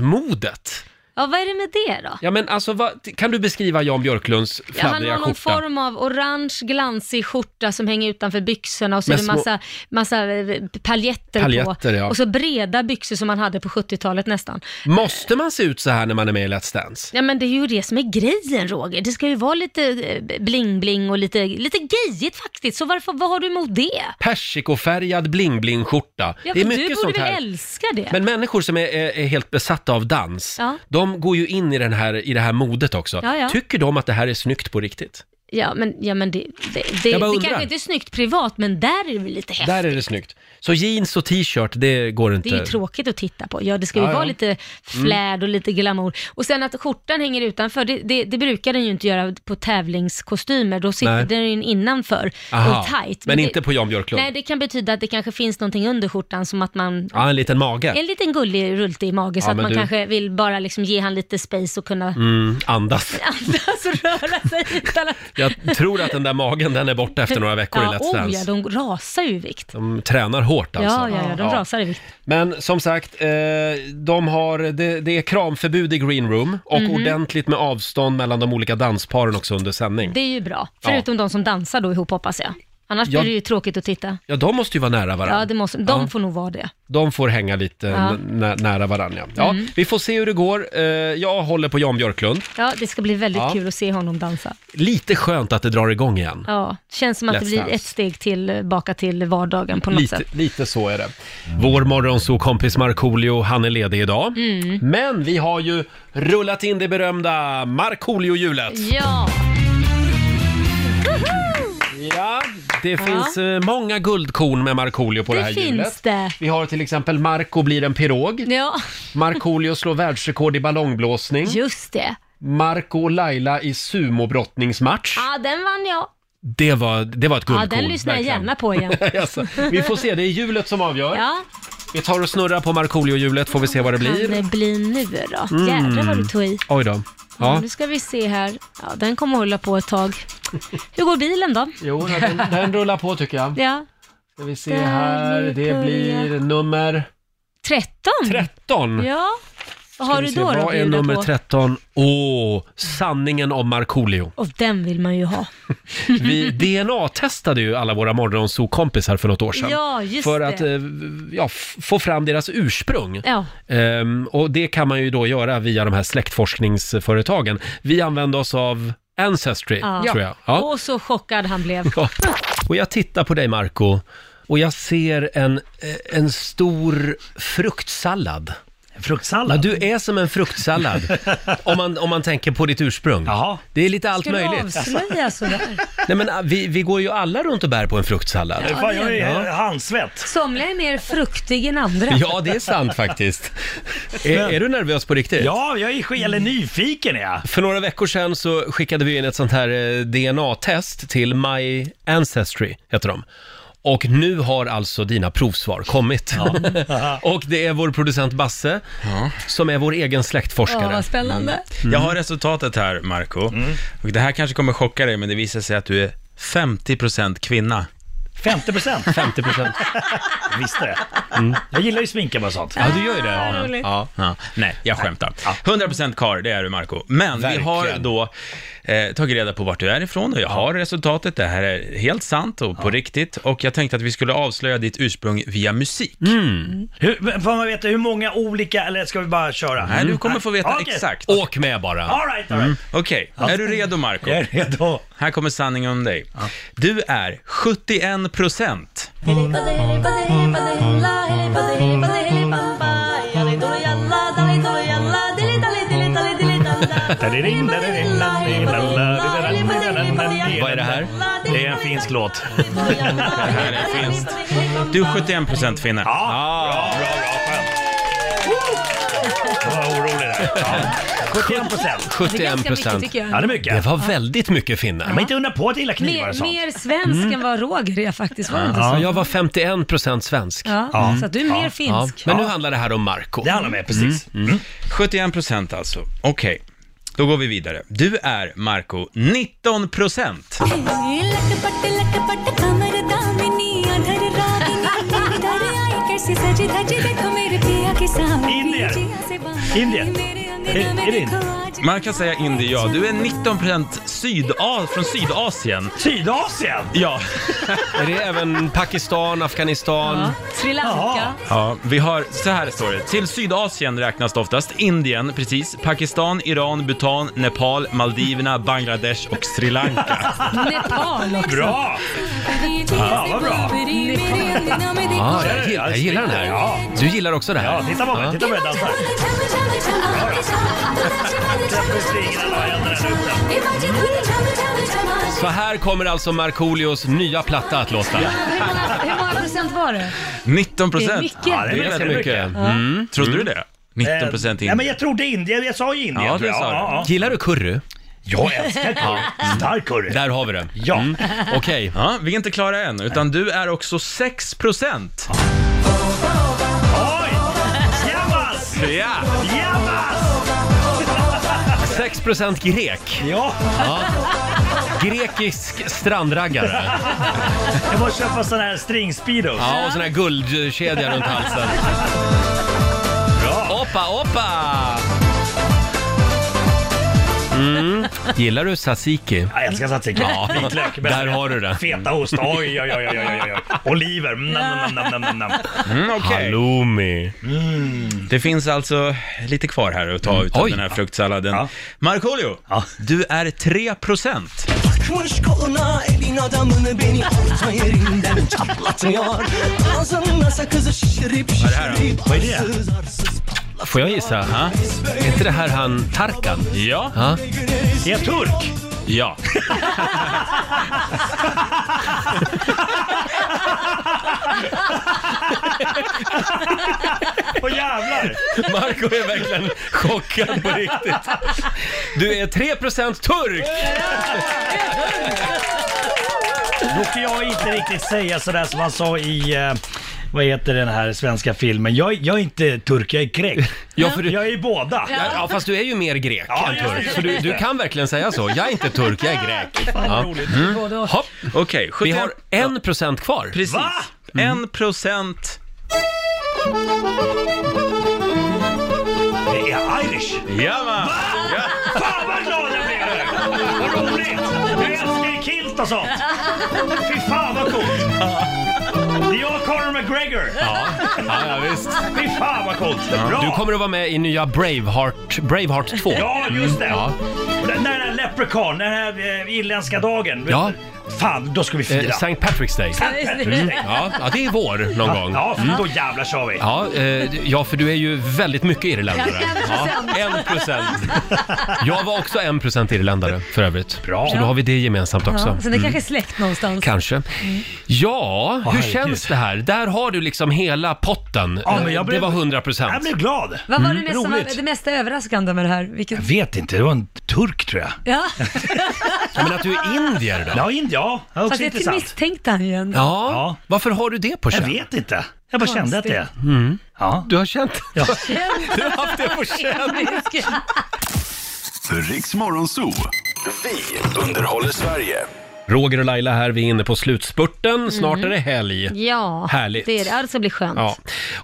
A: dansmodet.
B: Ja, vad är det med det då?
A: Ja men alltså, vad, kan du beskriva Jan Björklunds
B: Ja, han
A: fladdriga
B: har någon
A: skjorta?
B: form av orange glansig skjorta som hänger utanför byxorna och så
A: Med
B: är det
A: små-
B: massa, massa eh, paljetter,
A: Paljetter,
B: på.
A: ja.
B: Och så breda byxor som man hade på 70-talet nästan.
A: Måste man se ut så här när man är med i Let's Dance?
B: Ja men det är ju det som är grejen Roger. Det ska ju vara lite eh, bling-bling och lite, lite gayigt faktiskt. Så varför, vad har du emot det?
A: Persikofärgad bling-bling-skjorta.
B: Ja,
A: det är
B: för
A: mycket
B: du borde
A: sånt
B: väl
A: här.
B: älska det?
A: Men människor som är, är, är helt besatta av dans,
B: Ja.
A: de går ju in i, den här, i det här modet också.
B: Ja, ja.
A: Tycker de att det här är snyggt på riktigt?
B: Ja men, ja, men det, det, det,
A: Jag bara
B: det
A: undrar.
B: kanske inte är snyggt privat, men där är det väl lite häftigt.
A: Där är det snyggt. Så jeans och t-shirt, det går inte.
B: Det är ju tråkigt att titta på. Ja, det ska ju
A: Ja, Mm. ja.
B: vara lite flärd och lite glamour. Och sen att skjortan hänger utanför, det, det, det brukar den ju inte göra på tävlingskostymer. Då sitter
A: Nej.
B: den ju innanför
A: Aha,
B: och tajt.
A: Men,
B: det-
A: inte på Jan Björklund?
B: Nej, det kan betyda att det kanske finns någonting under skjortan som att man
A: Ja, en liten mage.
B: en liten gullig rultig mage
A: Ja,
B: så att
A: men
B: man
A: du-
B: kanske vill bara liksom ge han lite space och kunna
A: Mm, andas.
B: *laughs* andas och röra sig utan att...
A: Jag tror att den där magen, den är borta efter några veckor
B: ja,
A: i Let's
B: oh,
A: Dance.
B: ja, de rasar ju i vikt.
A: De tränar hårt alltså.
B: Ja, ja, ja, de rasar i vikt.
A: Men som sagt, eh, de har, det, det är kramförbud i green room och
B: Mhm.
A: ordentligt med avstånd mellan de olika dansparen också under sändning.
B: Det är ju bra.
A: Ja.
B: Förutom de som dansar då ihop hoppas jag. Annars
A: Ja.
B: blir det ju tråkigt att titta.
A: Ja, de måste ju vara nära varandra.
B: Ja, det måste, de
A: Ja.
B: får nog vara det.
A: De får hänga lite
B: Ja.
A: n- nä- nära varandra. Ja,
B: Mm.
A: Vi får se hur det går. Eh, jag håller på Jan Björklund.
B: Ja, det ska bli väldigt
A: Ja.
B: kul att se honom dansa.
A: Lite skönt att det drar igång igen.
B: Ja, känns som att det
A: Let's
B: blir
A: Dance.
B: ett steg tillbaka till vardagen på något
A: Lite,
B: sätt.
A: lite så är det. Vår morgonsokompis Markoolio, han är ledig idag.
B: Mm.
A: Men vi har ju rullat in det berömda Markoolio-hjulet.
B: Ja.
A: Ja, det
B: Ja.
A: finns eh, många guldkorn med Markoolio på det,
B: Det
A: här
B: finns
A: hjulet.
B: det.
A: Vi har till exempel Marco blir en pirog.
B: Ja,
A: Markoolio slår världsrekord i ballongblåsning.
B: just det.
A: Marco och Laila i sumobrottningsmatch.
B: Ja, den vann jag.
A: Det var, det var ett
B: Ja,
A: guldkorn.
B: den lyssnar jag
A: verkligen.
B: gärna på igen.
A: *laughs* Jaså, vi får se, det är hjulet som avgör.
B: Ja,
A: Vi tar och snurrar på Markoolio-hjulet får vi se vad det
B: kan
A: blir.
B: det bli nu då? Jädrar vad du tog i.
A: Oj då.
B: Ja.
A: Ja.
B: Nu ska vi se här. Ja, den kommer hålla på ett tag. Hur går bilen då?
A: Jo, den, den rullar på tycker jag.
B: Ja,
A: Ska vi se här, det blir nummer
B: 13.
A: 13.
B: Ja, Vad har
A: Ska vi
B: du
A: se,
B: då? då att
A: Vad är
B: bjuda
A: nummer
B: på?
A: 13? Åh, sanningen om Markoolio.
B: Och den vill man ju ha. *laughs*
A: Vi DNA-testade ju alla våra morgonzoo-kompisar för något år sedan.
B: Ja, just
A: för
B: det.
A: att eh, ja, f- få fram deras ursprung.
B: Ja.
A: Ehm, och det kan man ju då göra via de här släktforskningsföretagen. Vi använde oss av Ancestry, tror jag. Ja.
B: Och så chockad han blev.
A: Ja. Och jag tittar på dig Marco och jag ser en, eh, en stor fruktsallad. Fruktsallad? Ja, du är som en fruktsallad om, man, om man tänker på ditt ursprung. Jaha. Det är lite allt
B: Ska du
A: möjligt.
B: avslöja sådär?
A: Nej, men, eh, vi, vi går ju alla runt och bär på en fruktsallad.
B: Ja, Fan, jag är-
A: handsvett.
B: Somliga är mer fruktig än andra.
A: Ja, det är sant faktiskt. är, är du nervös på riktigt?
L: Ja, jag är sk- eller nyfiken är jag.
A: För några veckor sedan så skickade vi in ett sånt här eh, DNA-test till My Ancestry, heter de. Och nu har alltså dina provsvar kommit. *laughs* och det är vår producent Basse som är vår egen släktforskare.
B: Ja, vad spännande.
A: Mm.
D: Jag har resultatet här, Marco. Och det här kanske kommer chocka dig, men det visar sig att du är 50% kvinna.
L: 50 procent.
A: 50 procent.
L: Visste det. Jag gillar ju sminka bara sånt.
D: Ja, du gör ju det.
L: Ja. roligt.
D: Ja. Ja. Nej, jag skämtar. 100% kar, det är du Marco. Men
L: Verkligen.
D: vi har då eh, tagit reda på vart du är ifrån och jag har resultatet. Det här är helt sant och på riktigt. Och jag tänkte att vi skulle avslöja ditt ursprung via musik.
L: Hur, men får man veta hur många olika, eller ska vi bara köra?
D: Nej, du kommer få veta
L: Ja, okej.
D: exakt.
A: Åk med bara.
L: All right, all right.
D: Okej, är du redo Marco? Jag är
L: redo.
D: Här kommer sanningen om dig. Du är 71 procent.
L: Vad
D: är det här?
L: Det är en finsk låt.
D: Det här är finst. Du är 71 procent finne.
L: Ja, bra, bra, skönt. Jag var orolig där. Ja. 71 procent.
A: 71 procent.
L: Ja, det är mycket.
A: Det var väldigt mycket finnar.
L: Man inte undra på att gilla knivar och
B: Mer,
L: sånt.
B: mer svensk
A: Mm.
B: än vad Roger är faktiskt. Var det inte
A: Ja,
B: så?
A: jag var 51 procent svensk.
B: Ja, Ja. så att du är mer finsk.
A: Men nu
B: Ja.
A: handlar det här om Marco.
D: Det handlar om mig, precis. 71 procent alltså. Okej, då går vi vidare. Du är, Marco, 19 procent.
L: Indien. Är, är det inte?
D: Man kan säga indier, er ja. Du är 19 procent syda- från Sydasien.
L: Sydasien?
D: Ja.
A: är det även Pakistan, Afghanistan?
B: Sri Lanka.
D: Ja, vi har, så här står det. Till Sydasien räknas det oftast Indien, precis, Pakistan, Iran, Bhutan, Nepal, Maldiverna, Bangladesh och Sri Lanka.
B: Nepal också.
D: Bra!
L: Ja, vad bra.
B: *laughs*
A: Ja,
E: 啊
A: jag, gillar, jag gillar den här. Du gillar också det här?
L: Ja, titta på mig. Titta på mig dansa.
A: Så här kommer alltså Markoolios nya platta att låta.
B: Hur många, hur många procent var det?
D: 19
B: Det är
D: procent.
B: mycket. Ja, det är
D: ganska
A: väldigt mycket. Ja.
D: Mm. Trodde du det? 19
L: Eh,
D: procent
L: Nej, men
D: Indien.
L: jag trodde Indien. Jag sa ju Indien.
D: Ja,
L: tror
D: det
L: jag.
D: sa
L: Ja,
A: du. Mm. Gillar du curry?
L: Jag älskar curry. Stark curry.
A: Där har vi det.
L: Ja.
A: Okej.
D: Ja, vi är inte klara än, utan du är också 6 procent.
L: Jabbas!
D: Ja!
L: Jabbas!
A: 6% grek.
L: Ja.
A: Grekisk strandraggare.
L: Jag måste köpa sån här stringspeedos.
A: Ja, och sån här guldkedja runt halsen. Oppa, oppa! Mm. Gillar du tzatziki?
L: Jag älskar tzatziki.
A: Ja,
L: Vitlök. bäst.
A: där har du det.
L: Fetaost. Oj, oj, oj, oj, oj, oj. Oliver. Mm, Nam, nam, nam, nam, nam.
D: Mm, okej.
A: Halloumi.
D: Det finns alltså lite kvar här att ta ut av
L: Oj.
D: den här fruktsalladen. Markoolio, du är 3 procent.
U: Takmış koluna elin adamını beni orta yerinden çatlatıyor. Ağzında sakızı şişirip şişirip
A: Vad är det?
U: arsız
A: Får jag gissa? Är inte det här han Tarkan?
D: Ja.
A: ja.
L: Är jag turk?
D: Ja.
L: Åh jävlar!
A: *laughs* Marco är verkligen chockad på riktigt. Du är 3% turk!
L: Då kan jag inte riktigt säga sådär som han sa i... eh, vad heter den här svenska filmen? Jag, jag är inte turk, jag är grek.
A: Ja, *laughs* för du-
L: Jag är båda.
A: Ja. ja, fast du är ju mer grek
L: Ja,
A: än
L: ja,
A: turk.
L: ja,
A: Så du,
L: ja.
A: du kan verkligen säga så. Jag är inte turk, jag är grek.
L: *laughs* Fan, vad
A: Ja.
L: roligt.
A: Mm.
L: Både och.
A: Hopp.
D: Okej,
A: Vi har en procent kvar. Mm.
D: Precis. En procent.
L: Det är
D: Jajamän!
L: Fan vad glad jag blev nu! Vad roligt! Jag älskar ju kilt och sånt. Fy fan
A: *laughs*
L: vad coolt! Det är jag och Conor McGregor.
A: Ja, ja, ja visst.
L: Fy fan vad coolt. Bra!
A: Du kommer att vara med i nya Braveheart, Braveheart 2.
L: Ja, just det.
A: Mm, ja.
L: Och Den där, den där leprechaun, den här eh, irländska dagen.
A: Ja.
L: Fan, då ska vi fira.
A: Eh, St. Patrick's Day.
L: Saint Patrick's Day.
A: Mm, ja, ja, det är vår någon gång.
L: Ja,
A: Mm.
L: då jävlar kör vi.
A: Ja, eh, ja, för du är ju väldigt mycket irländare.
L: Ja,
A: en procent. Jag var också en procent irländare för övrigt. Bra. Så då
B: Ja.
A: har vi det gemensamt också.
B: Ja, så Alltså, det
A: Mm.
B: kanske är släkt någonstans.
A: Kanske. Ja, hur
B: herregud.
A: känns det här? Där har du liksom hela potten.
L: Ja, men jag
A: Det
L: blev-
A: var 100 procent.
L: Jag blev glad.
B: Vad
A: Mm.
B: var det, mest som var det mesta överraskande med det här? Vilket...
L: Jag vet inte, det var en turk tror jag.
A: *laughs*
B: Ja,
A: men att du är indier då?
L: Ja, indier. Ja, det är
B: fast
L: också
B: jag
L: intressant.
B: misstänkte han ju ändå.
A: Ja. varför har du det på
L: Jag
A: känn?
L: vet inte. Jag bara kände att det...
A: Mm.
L: Ja.
A: Du har känt
L: ja.
A: *laughs* Du har haft det på
B: *laughs*
A: känn.
N: Riks Morgonzoo. Vi underhåller Sverige.
A: Roger och Laila här, vi är inne på slutspurten. Snart
B: Mm.
A: är det helg.
B: Ja,
A: Härligt.
B: det är det. Alltså blir skönt.
A: Ja,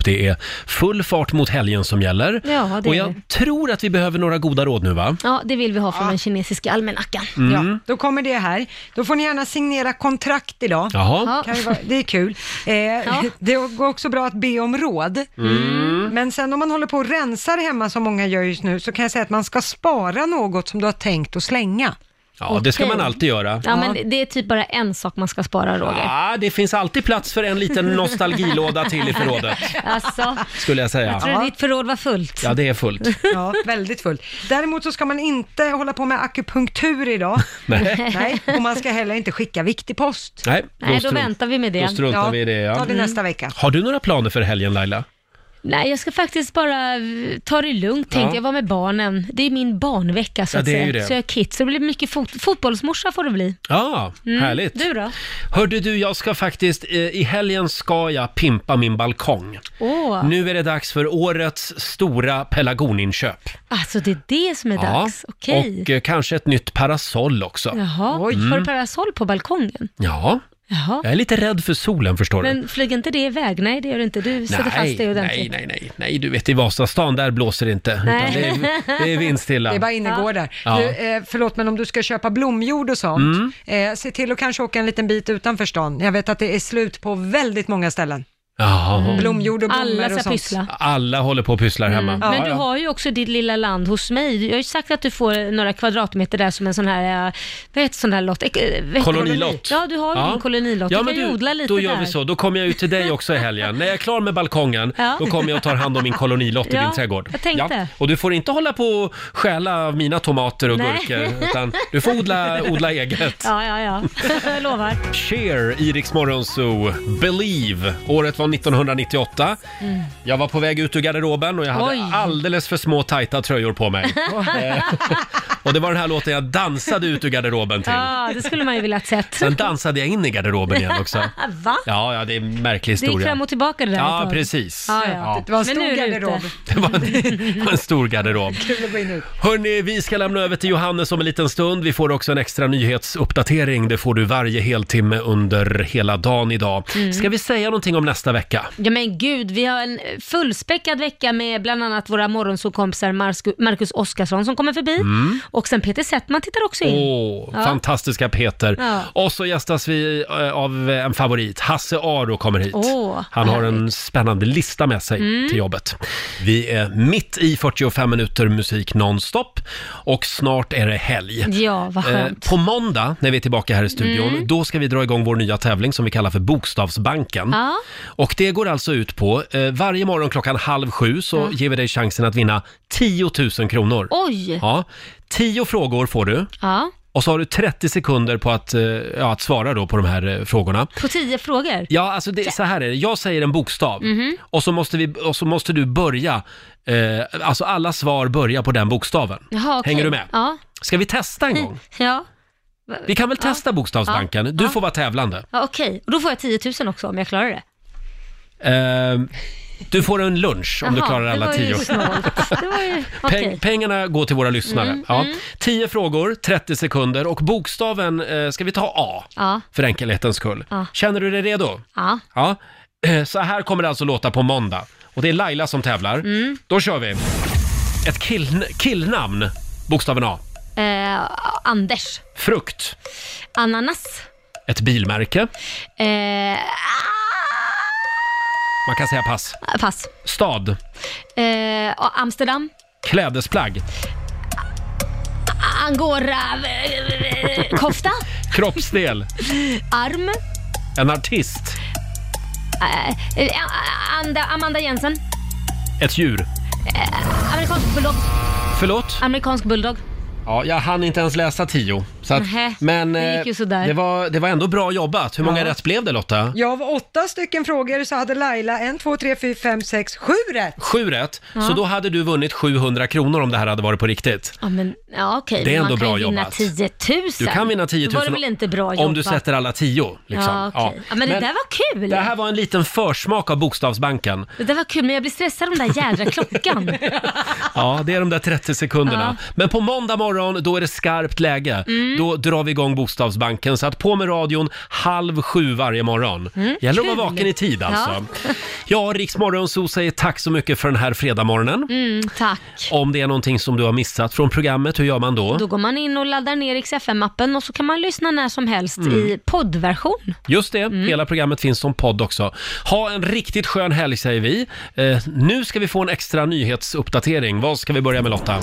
A: det är full fart mot helgen som gäller.
B: Ja, det
A: och
B: är
A: jag tror att vi behöver några goda råd nu va?
B: Ja, det vill vi ha från den kinesiska almanackan.
A: Mm.
C: Ja, då kommer det här. Då får ni gärna signera kontrakt idag.
A: Jaha.
C: Kan ju vara, det är kul. Eh, *laughs* Det går också bra att be om råd.
E: Mm.
C: Men sen om man håller på och rensar hemma som många gör just nu så kan jag säga att man ska spara något som du har tänkt att slänga.
A: Ja, det ska
B: Okej.
A: man alltid göra.
B: Ja, men det är typ bara en sak man ska spara, Roger.
A: Ja, det finns alltid plats för en liten nostalgilåda till i förrådet,
B: *laughs* Alltså,
A: skulle jag säga.
B: jag tror ditt förråd var fullt.
A: Ja, det är fullt.
C: Ja, väldigt fullt. Däremot så ska man inte hålla på med akupunktur idag.
B: *laughs*
A: Nej.
C: och man ska heller inte skicka viktig post.
A: Nej,
B: Nej, då
A: strunt-
B: väntar vi med det.
A: Då struntar
B: Ja,
A: vi i det. Ja. Mm.
B: ta det nästa vecka.
A: Har du några planer för helgen Laila?
B: Nej, jag ska faktiskt bara eh, ta det lugnt, tänkte
A: Ja.
B: jag. vara med barnen. Det är min barnvecka, så
A: Ja,
B: att
A: det är
B: säga.
A: ju det.
B: Så jag är kids. Så det blir mycket fot- fotbollsmorsa får det bli.
A: Ja,
B: Mm.
A: härligt.
B: Du då?
A: Hörde du, jag ska faktiskt, eh, i helgen ska jag pimpa min balkong.
B: Åh,
A: Nu är det dags för årets stora pelargoninköp.
B: alltså det är det som är dags. Okej.
A: Och eh, kanske ett nytt parasoll också.
B: Jaha,
A: Mm.
B: har du parasoll på balkongen?
A: Ja,
B: Jaha.
A: jag är lite rädd för solen förstår du.
B: Men flyger inte det iväg? Nej, det gör det inte. Du sätter fast dig
A: nej,
B: ordentligt.
A: nej, nej, nej, du vet i Vasastan, där blåser det inte.
B: Nej.
A: Utan det, är, det är vindstilla.
B: *laughs*
C: Det är bara innergårdar.
A: Ja.
C: Du, eh, förlåt, men om du ska köpa blomjord och sånt,
A: Mm.
C: eh, se till att kanske åka en liten bit utanför stan. Jag vet att det är slut på väldigt många ställen.
B: Mm.
A: Jaha.
C: Blomjord och
B: Alla
C: blommor
B: ska
C: och sånt.
B: pyssla.
A: Alla håller på och pysslar hemma.
B: Mm. Men
A: Ja,
B: du
A: ja.
B: har ju också ditt lilla land hos mig. Jag har ju sagt att du får några kvadratmeter där som en sån här, eh, vad heter sån här lott? Eh, vad heter-
A: Kolonilott.
B: Ja, du har ju din kolonilott.
A: Ja,
B: du
A: men
B: kan ju odla lite
A: Då gör
B: där.
A: vi så. Då kommer jag ut till dig också i helgen. När jag är klar med balkongen,
B: Ja.
A: då kommer jag och tar hand om min kolonilott i
B: Ja,
A: din trädgård.
B: jag tänkte.
A: Och du får inte hålla på och stjäla av mina tomater och
B: Nej.
A: gurkor, utan du får odla, odla eget.
B: Ja, ja, ja. *laughs* Jag lovar.
A: Cher, i Rix Morgon Zoo, Believe. Året var 1998.
B: Mm.
A: Jag var på väg ut ur garderoben och jag hade
B: Oj.
A: alldeles för små tajta tröjor på
B: *laughs*
A: mig. Eh, och det var den här låten jag dansade ut ur garderoben till.
B: Ja, det skulle man ju vilja ha sett.
A: Sen dansade jag in i garderoben igen
B: *laughs*
A: också.
B: Va?
A: Ja, ja, det är en märklig
B: Det gick
A: historia.
B: fram och tillbaka det där ett
A: Ja,
B: tag.
A: precis.
B: Ja, ja.
A: Ja.
C: Det var en
B: Men
C: stor
B: nu är det
C: garderob.
A: *laughs*
B: ute.
A: Det var en, det var en stor garderob.
C: Kul att gå in och ut.
A: Hörni, vi ska lämna över till Johannes om en liten stund. Vi får också en extra nyhetsuppdatering. Det får du varje heltimme under hela dagen idag.
B: Mm.
A: Ska vi säga någonting om nästa vecka?
B: Ja men gud, vi har en fullspäckad vecka med bland annat våra morgonsåkompisar Marcus Oskarsson som kommer förbi.
A: Mm.
B: Och sen Peter Settman tittar också in.
A: Åh,
B: Ja.
A: fantastiska Peter.
B: Ja.
A: Och så gästas vi eh, av en favorit. Hasse Aro kommer hit.
B: Åh,
A: Han har en spännande lista med sig
B: Mm.
A: till jobbet. Vi är mitt i 45 minuter musik nonstop och snart är det helg.
B: Ja, vad
A: Eh,
B: skönt.
A: på måndag, när vi är tillbaka här i studion,
B: Mm.
A: då ska vi dra igång vår nya tävling som vi kallar för Bokstavsbanken.
B: Ja.
A: Och det går alltså ut på, eh, varje morgon klockan halv sju så
B: Ja.
A: ger vi dig chansen att vinna 10 000 kronor.
B: Oj!
A: Ja, 10 frågor får du.
B: Ja,
A: Och så har du 30 sekunder på att, eh, ja, att svara då på de här eh, frågorna.
B: på tio frågor.
A: Ja, alltså det, så här är det. Jag säger en bokstav
B: Mhm.
A: och, så måste vi, och så måste du börja, eh, alltså alla svar börjar på den bokstaven.
B: Jaha, okej.
A: Hänger du med?
B: Ja.
A: Ska vi testa
B: Mm.
A: en gång?
B: ja.
A: Vi kan väl testa Bokstavsbanken? Du får vara tävlande.
B: ja Okej, och då får jag 10 000 också om jag klarar det.
A: Eh, du får en lunch om du
B: Jaha,
A: klarar alla
B: det var ju
A: tio.
B: snålt. Det var ju... *laughs*
A: *laughs*
B: Okej.
A: Peng, pengarna går till våra lyssnare.
B: Mm,
A: ja.
B: mm.
A: 10 frågor, 30 sekunder och bokstaven eh, ska vi ta A
B: Ja.
A: för enkelhetens skull.
B: Ja.
A: Känner du dig redo?
B: Ja.
A: Ja. *clears throat*
B: Mm.
A: Eh, Så här kommer det alltså låta på måndag. Och det är Laila som tävlar. Då kör vi! ett kill, killnamn, bokstaven A.
B: Eh, Anders.
A: Frukt,
B: Ananas.
A: ett bilmärke.
B: Eh,
A: Man kan säga pass.
B: pass.
A: Stad,
B: Eh, och Amsterdam.
A: klädesplagg,
B: Angora... eh, Kofta. *laughs*
A: kroppsdel,
B: Arm.
A: en artist,
B: Eh, eh, Anda, Amanda Jensen.
A: ett djur.
B: Eh, amerikansk bulldog.
A: Förlåt?
B: Amerikansk bulldog.
A: Ja, jag hann inte ens läsa tio. Så att,
B: Nähä,
A: men
B: det gick ju
A: eh,
B: sådär.
A: det, var, det var ändå bra jobbat. Hur många
C: Ja.
A: rätt blev det Lotta?
C: Jag av åtta stycken frågor så hade Laila en, två, tre, fyra, fem, sex, sju rätt.
A: Sju rätt.
C: Ja.
A: Så då hade du vunnit 700 kronor om det här hade varit på riktigt.
B: Ja, men ja, okej.
A: Det är
B: men
A: ändå
B: man kan
A: bra
B: ju vinna
A: jobbat.
B: 10 000.
A: Du kan vinna 10 000
B: Då var det väl inte bra jobbat?
A: om du sätter alla tio. Liksom.
B: Ja, okej. Ja, men det där var kul.
A: Det här var en liten försmak av Bokstavsbanken.
B: Det där var kul, men jag blir stressad av den där
A: *laughs*
B: jädra klockan.
A: Ja, det är de där 30 sekunderna. Men på måndag morgon, då är det skarpt läge.
B: Mm.
A: Då drar vi igång Bokstavsbanken. Så att på med radion halv sju varje morgon.
D: Mm,
A: Gäller att vara
D: kul.
A: vaken i tid alltså. Ja, ja Riks Morgonzoo säger tack så mycket för den här fredagmorgonen.
B: Mm, tack.
A: Om det är någonting som du har missat från programmet, hur gör man då?
B: Då går man in och laddar ner XFM-appen och så kan man lyssna när som helst
A: Mm.
B: i poddversion.
A: Just det, hela programmet finns som podd också. Ha en riktigt skön helg säger vi. Eh, nu ska vi få en extra nyhetsuppdatering. Vad ska vi börja med Lotta?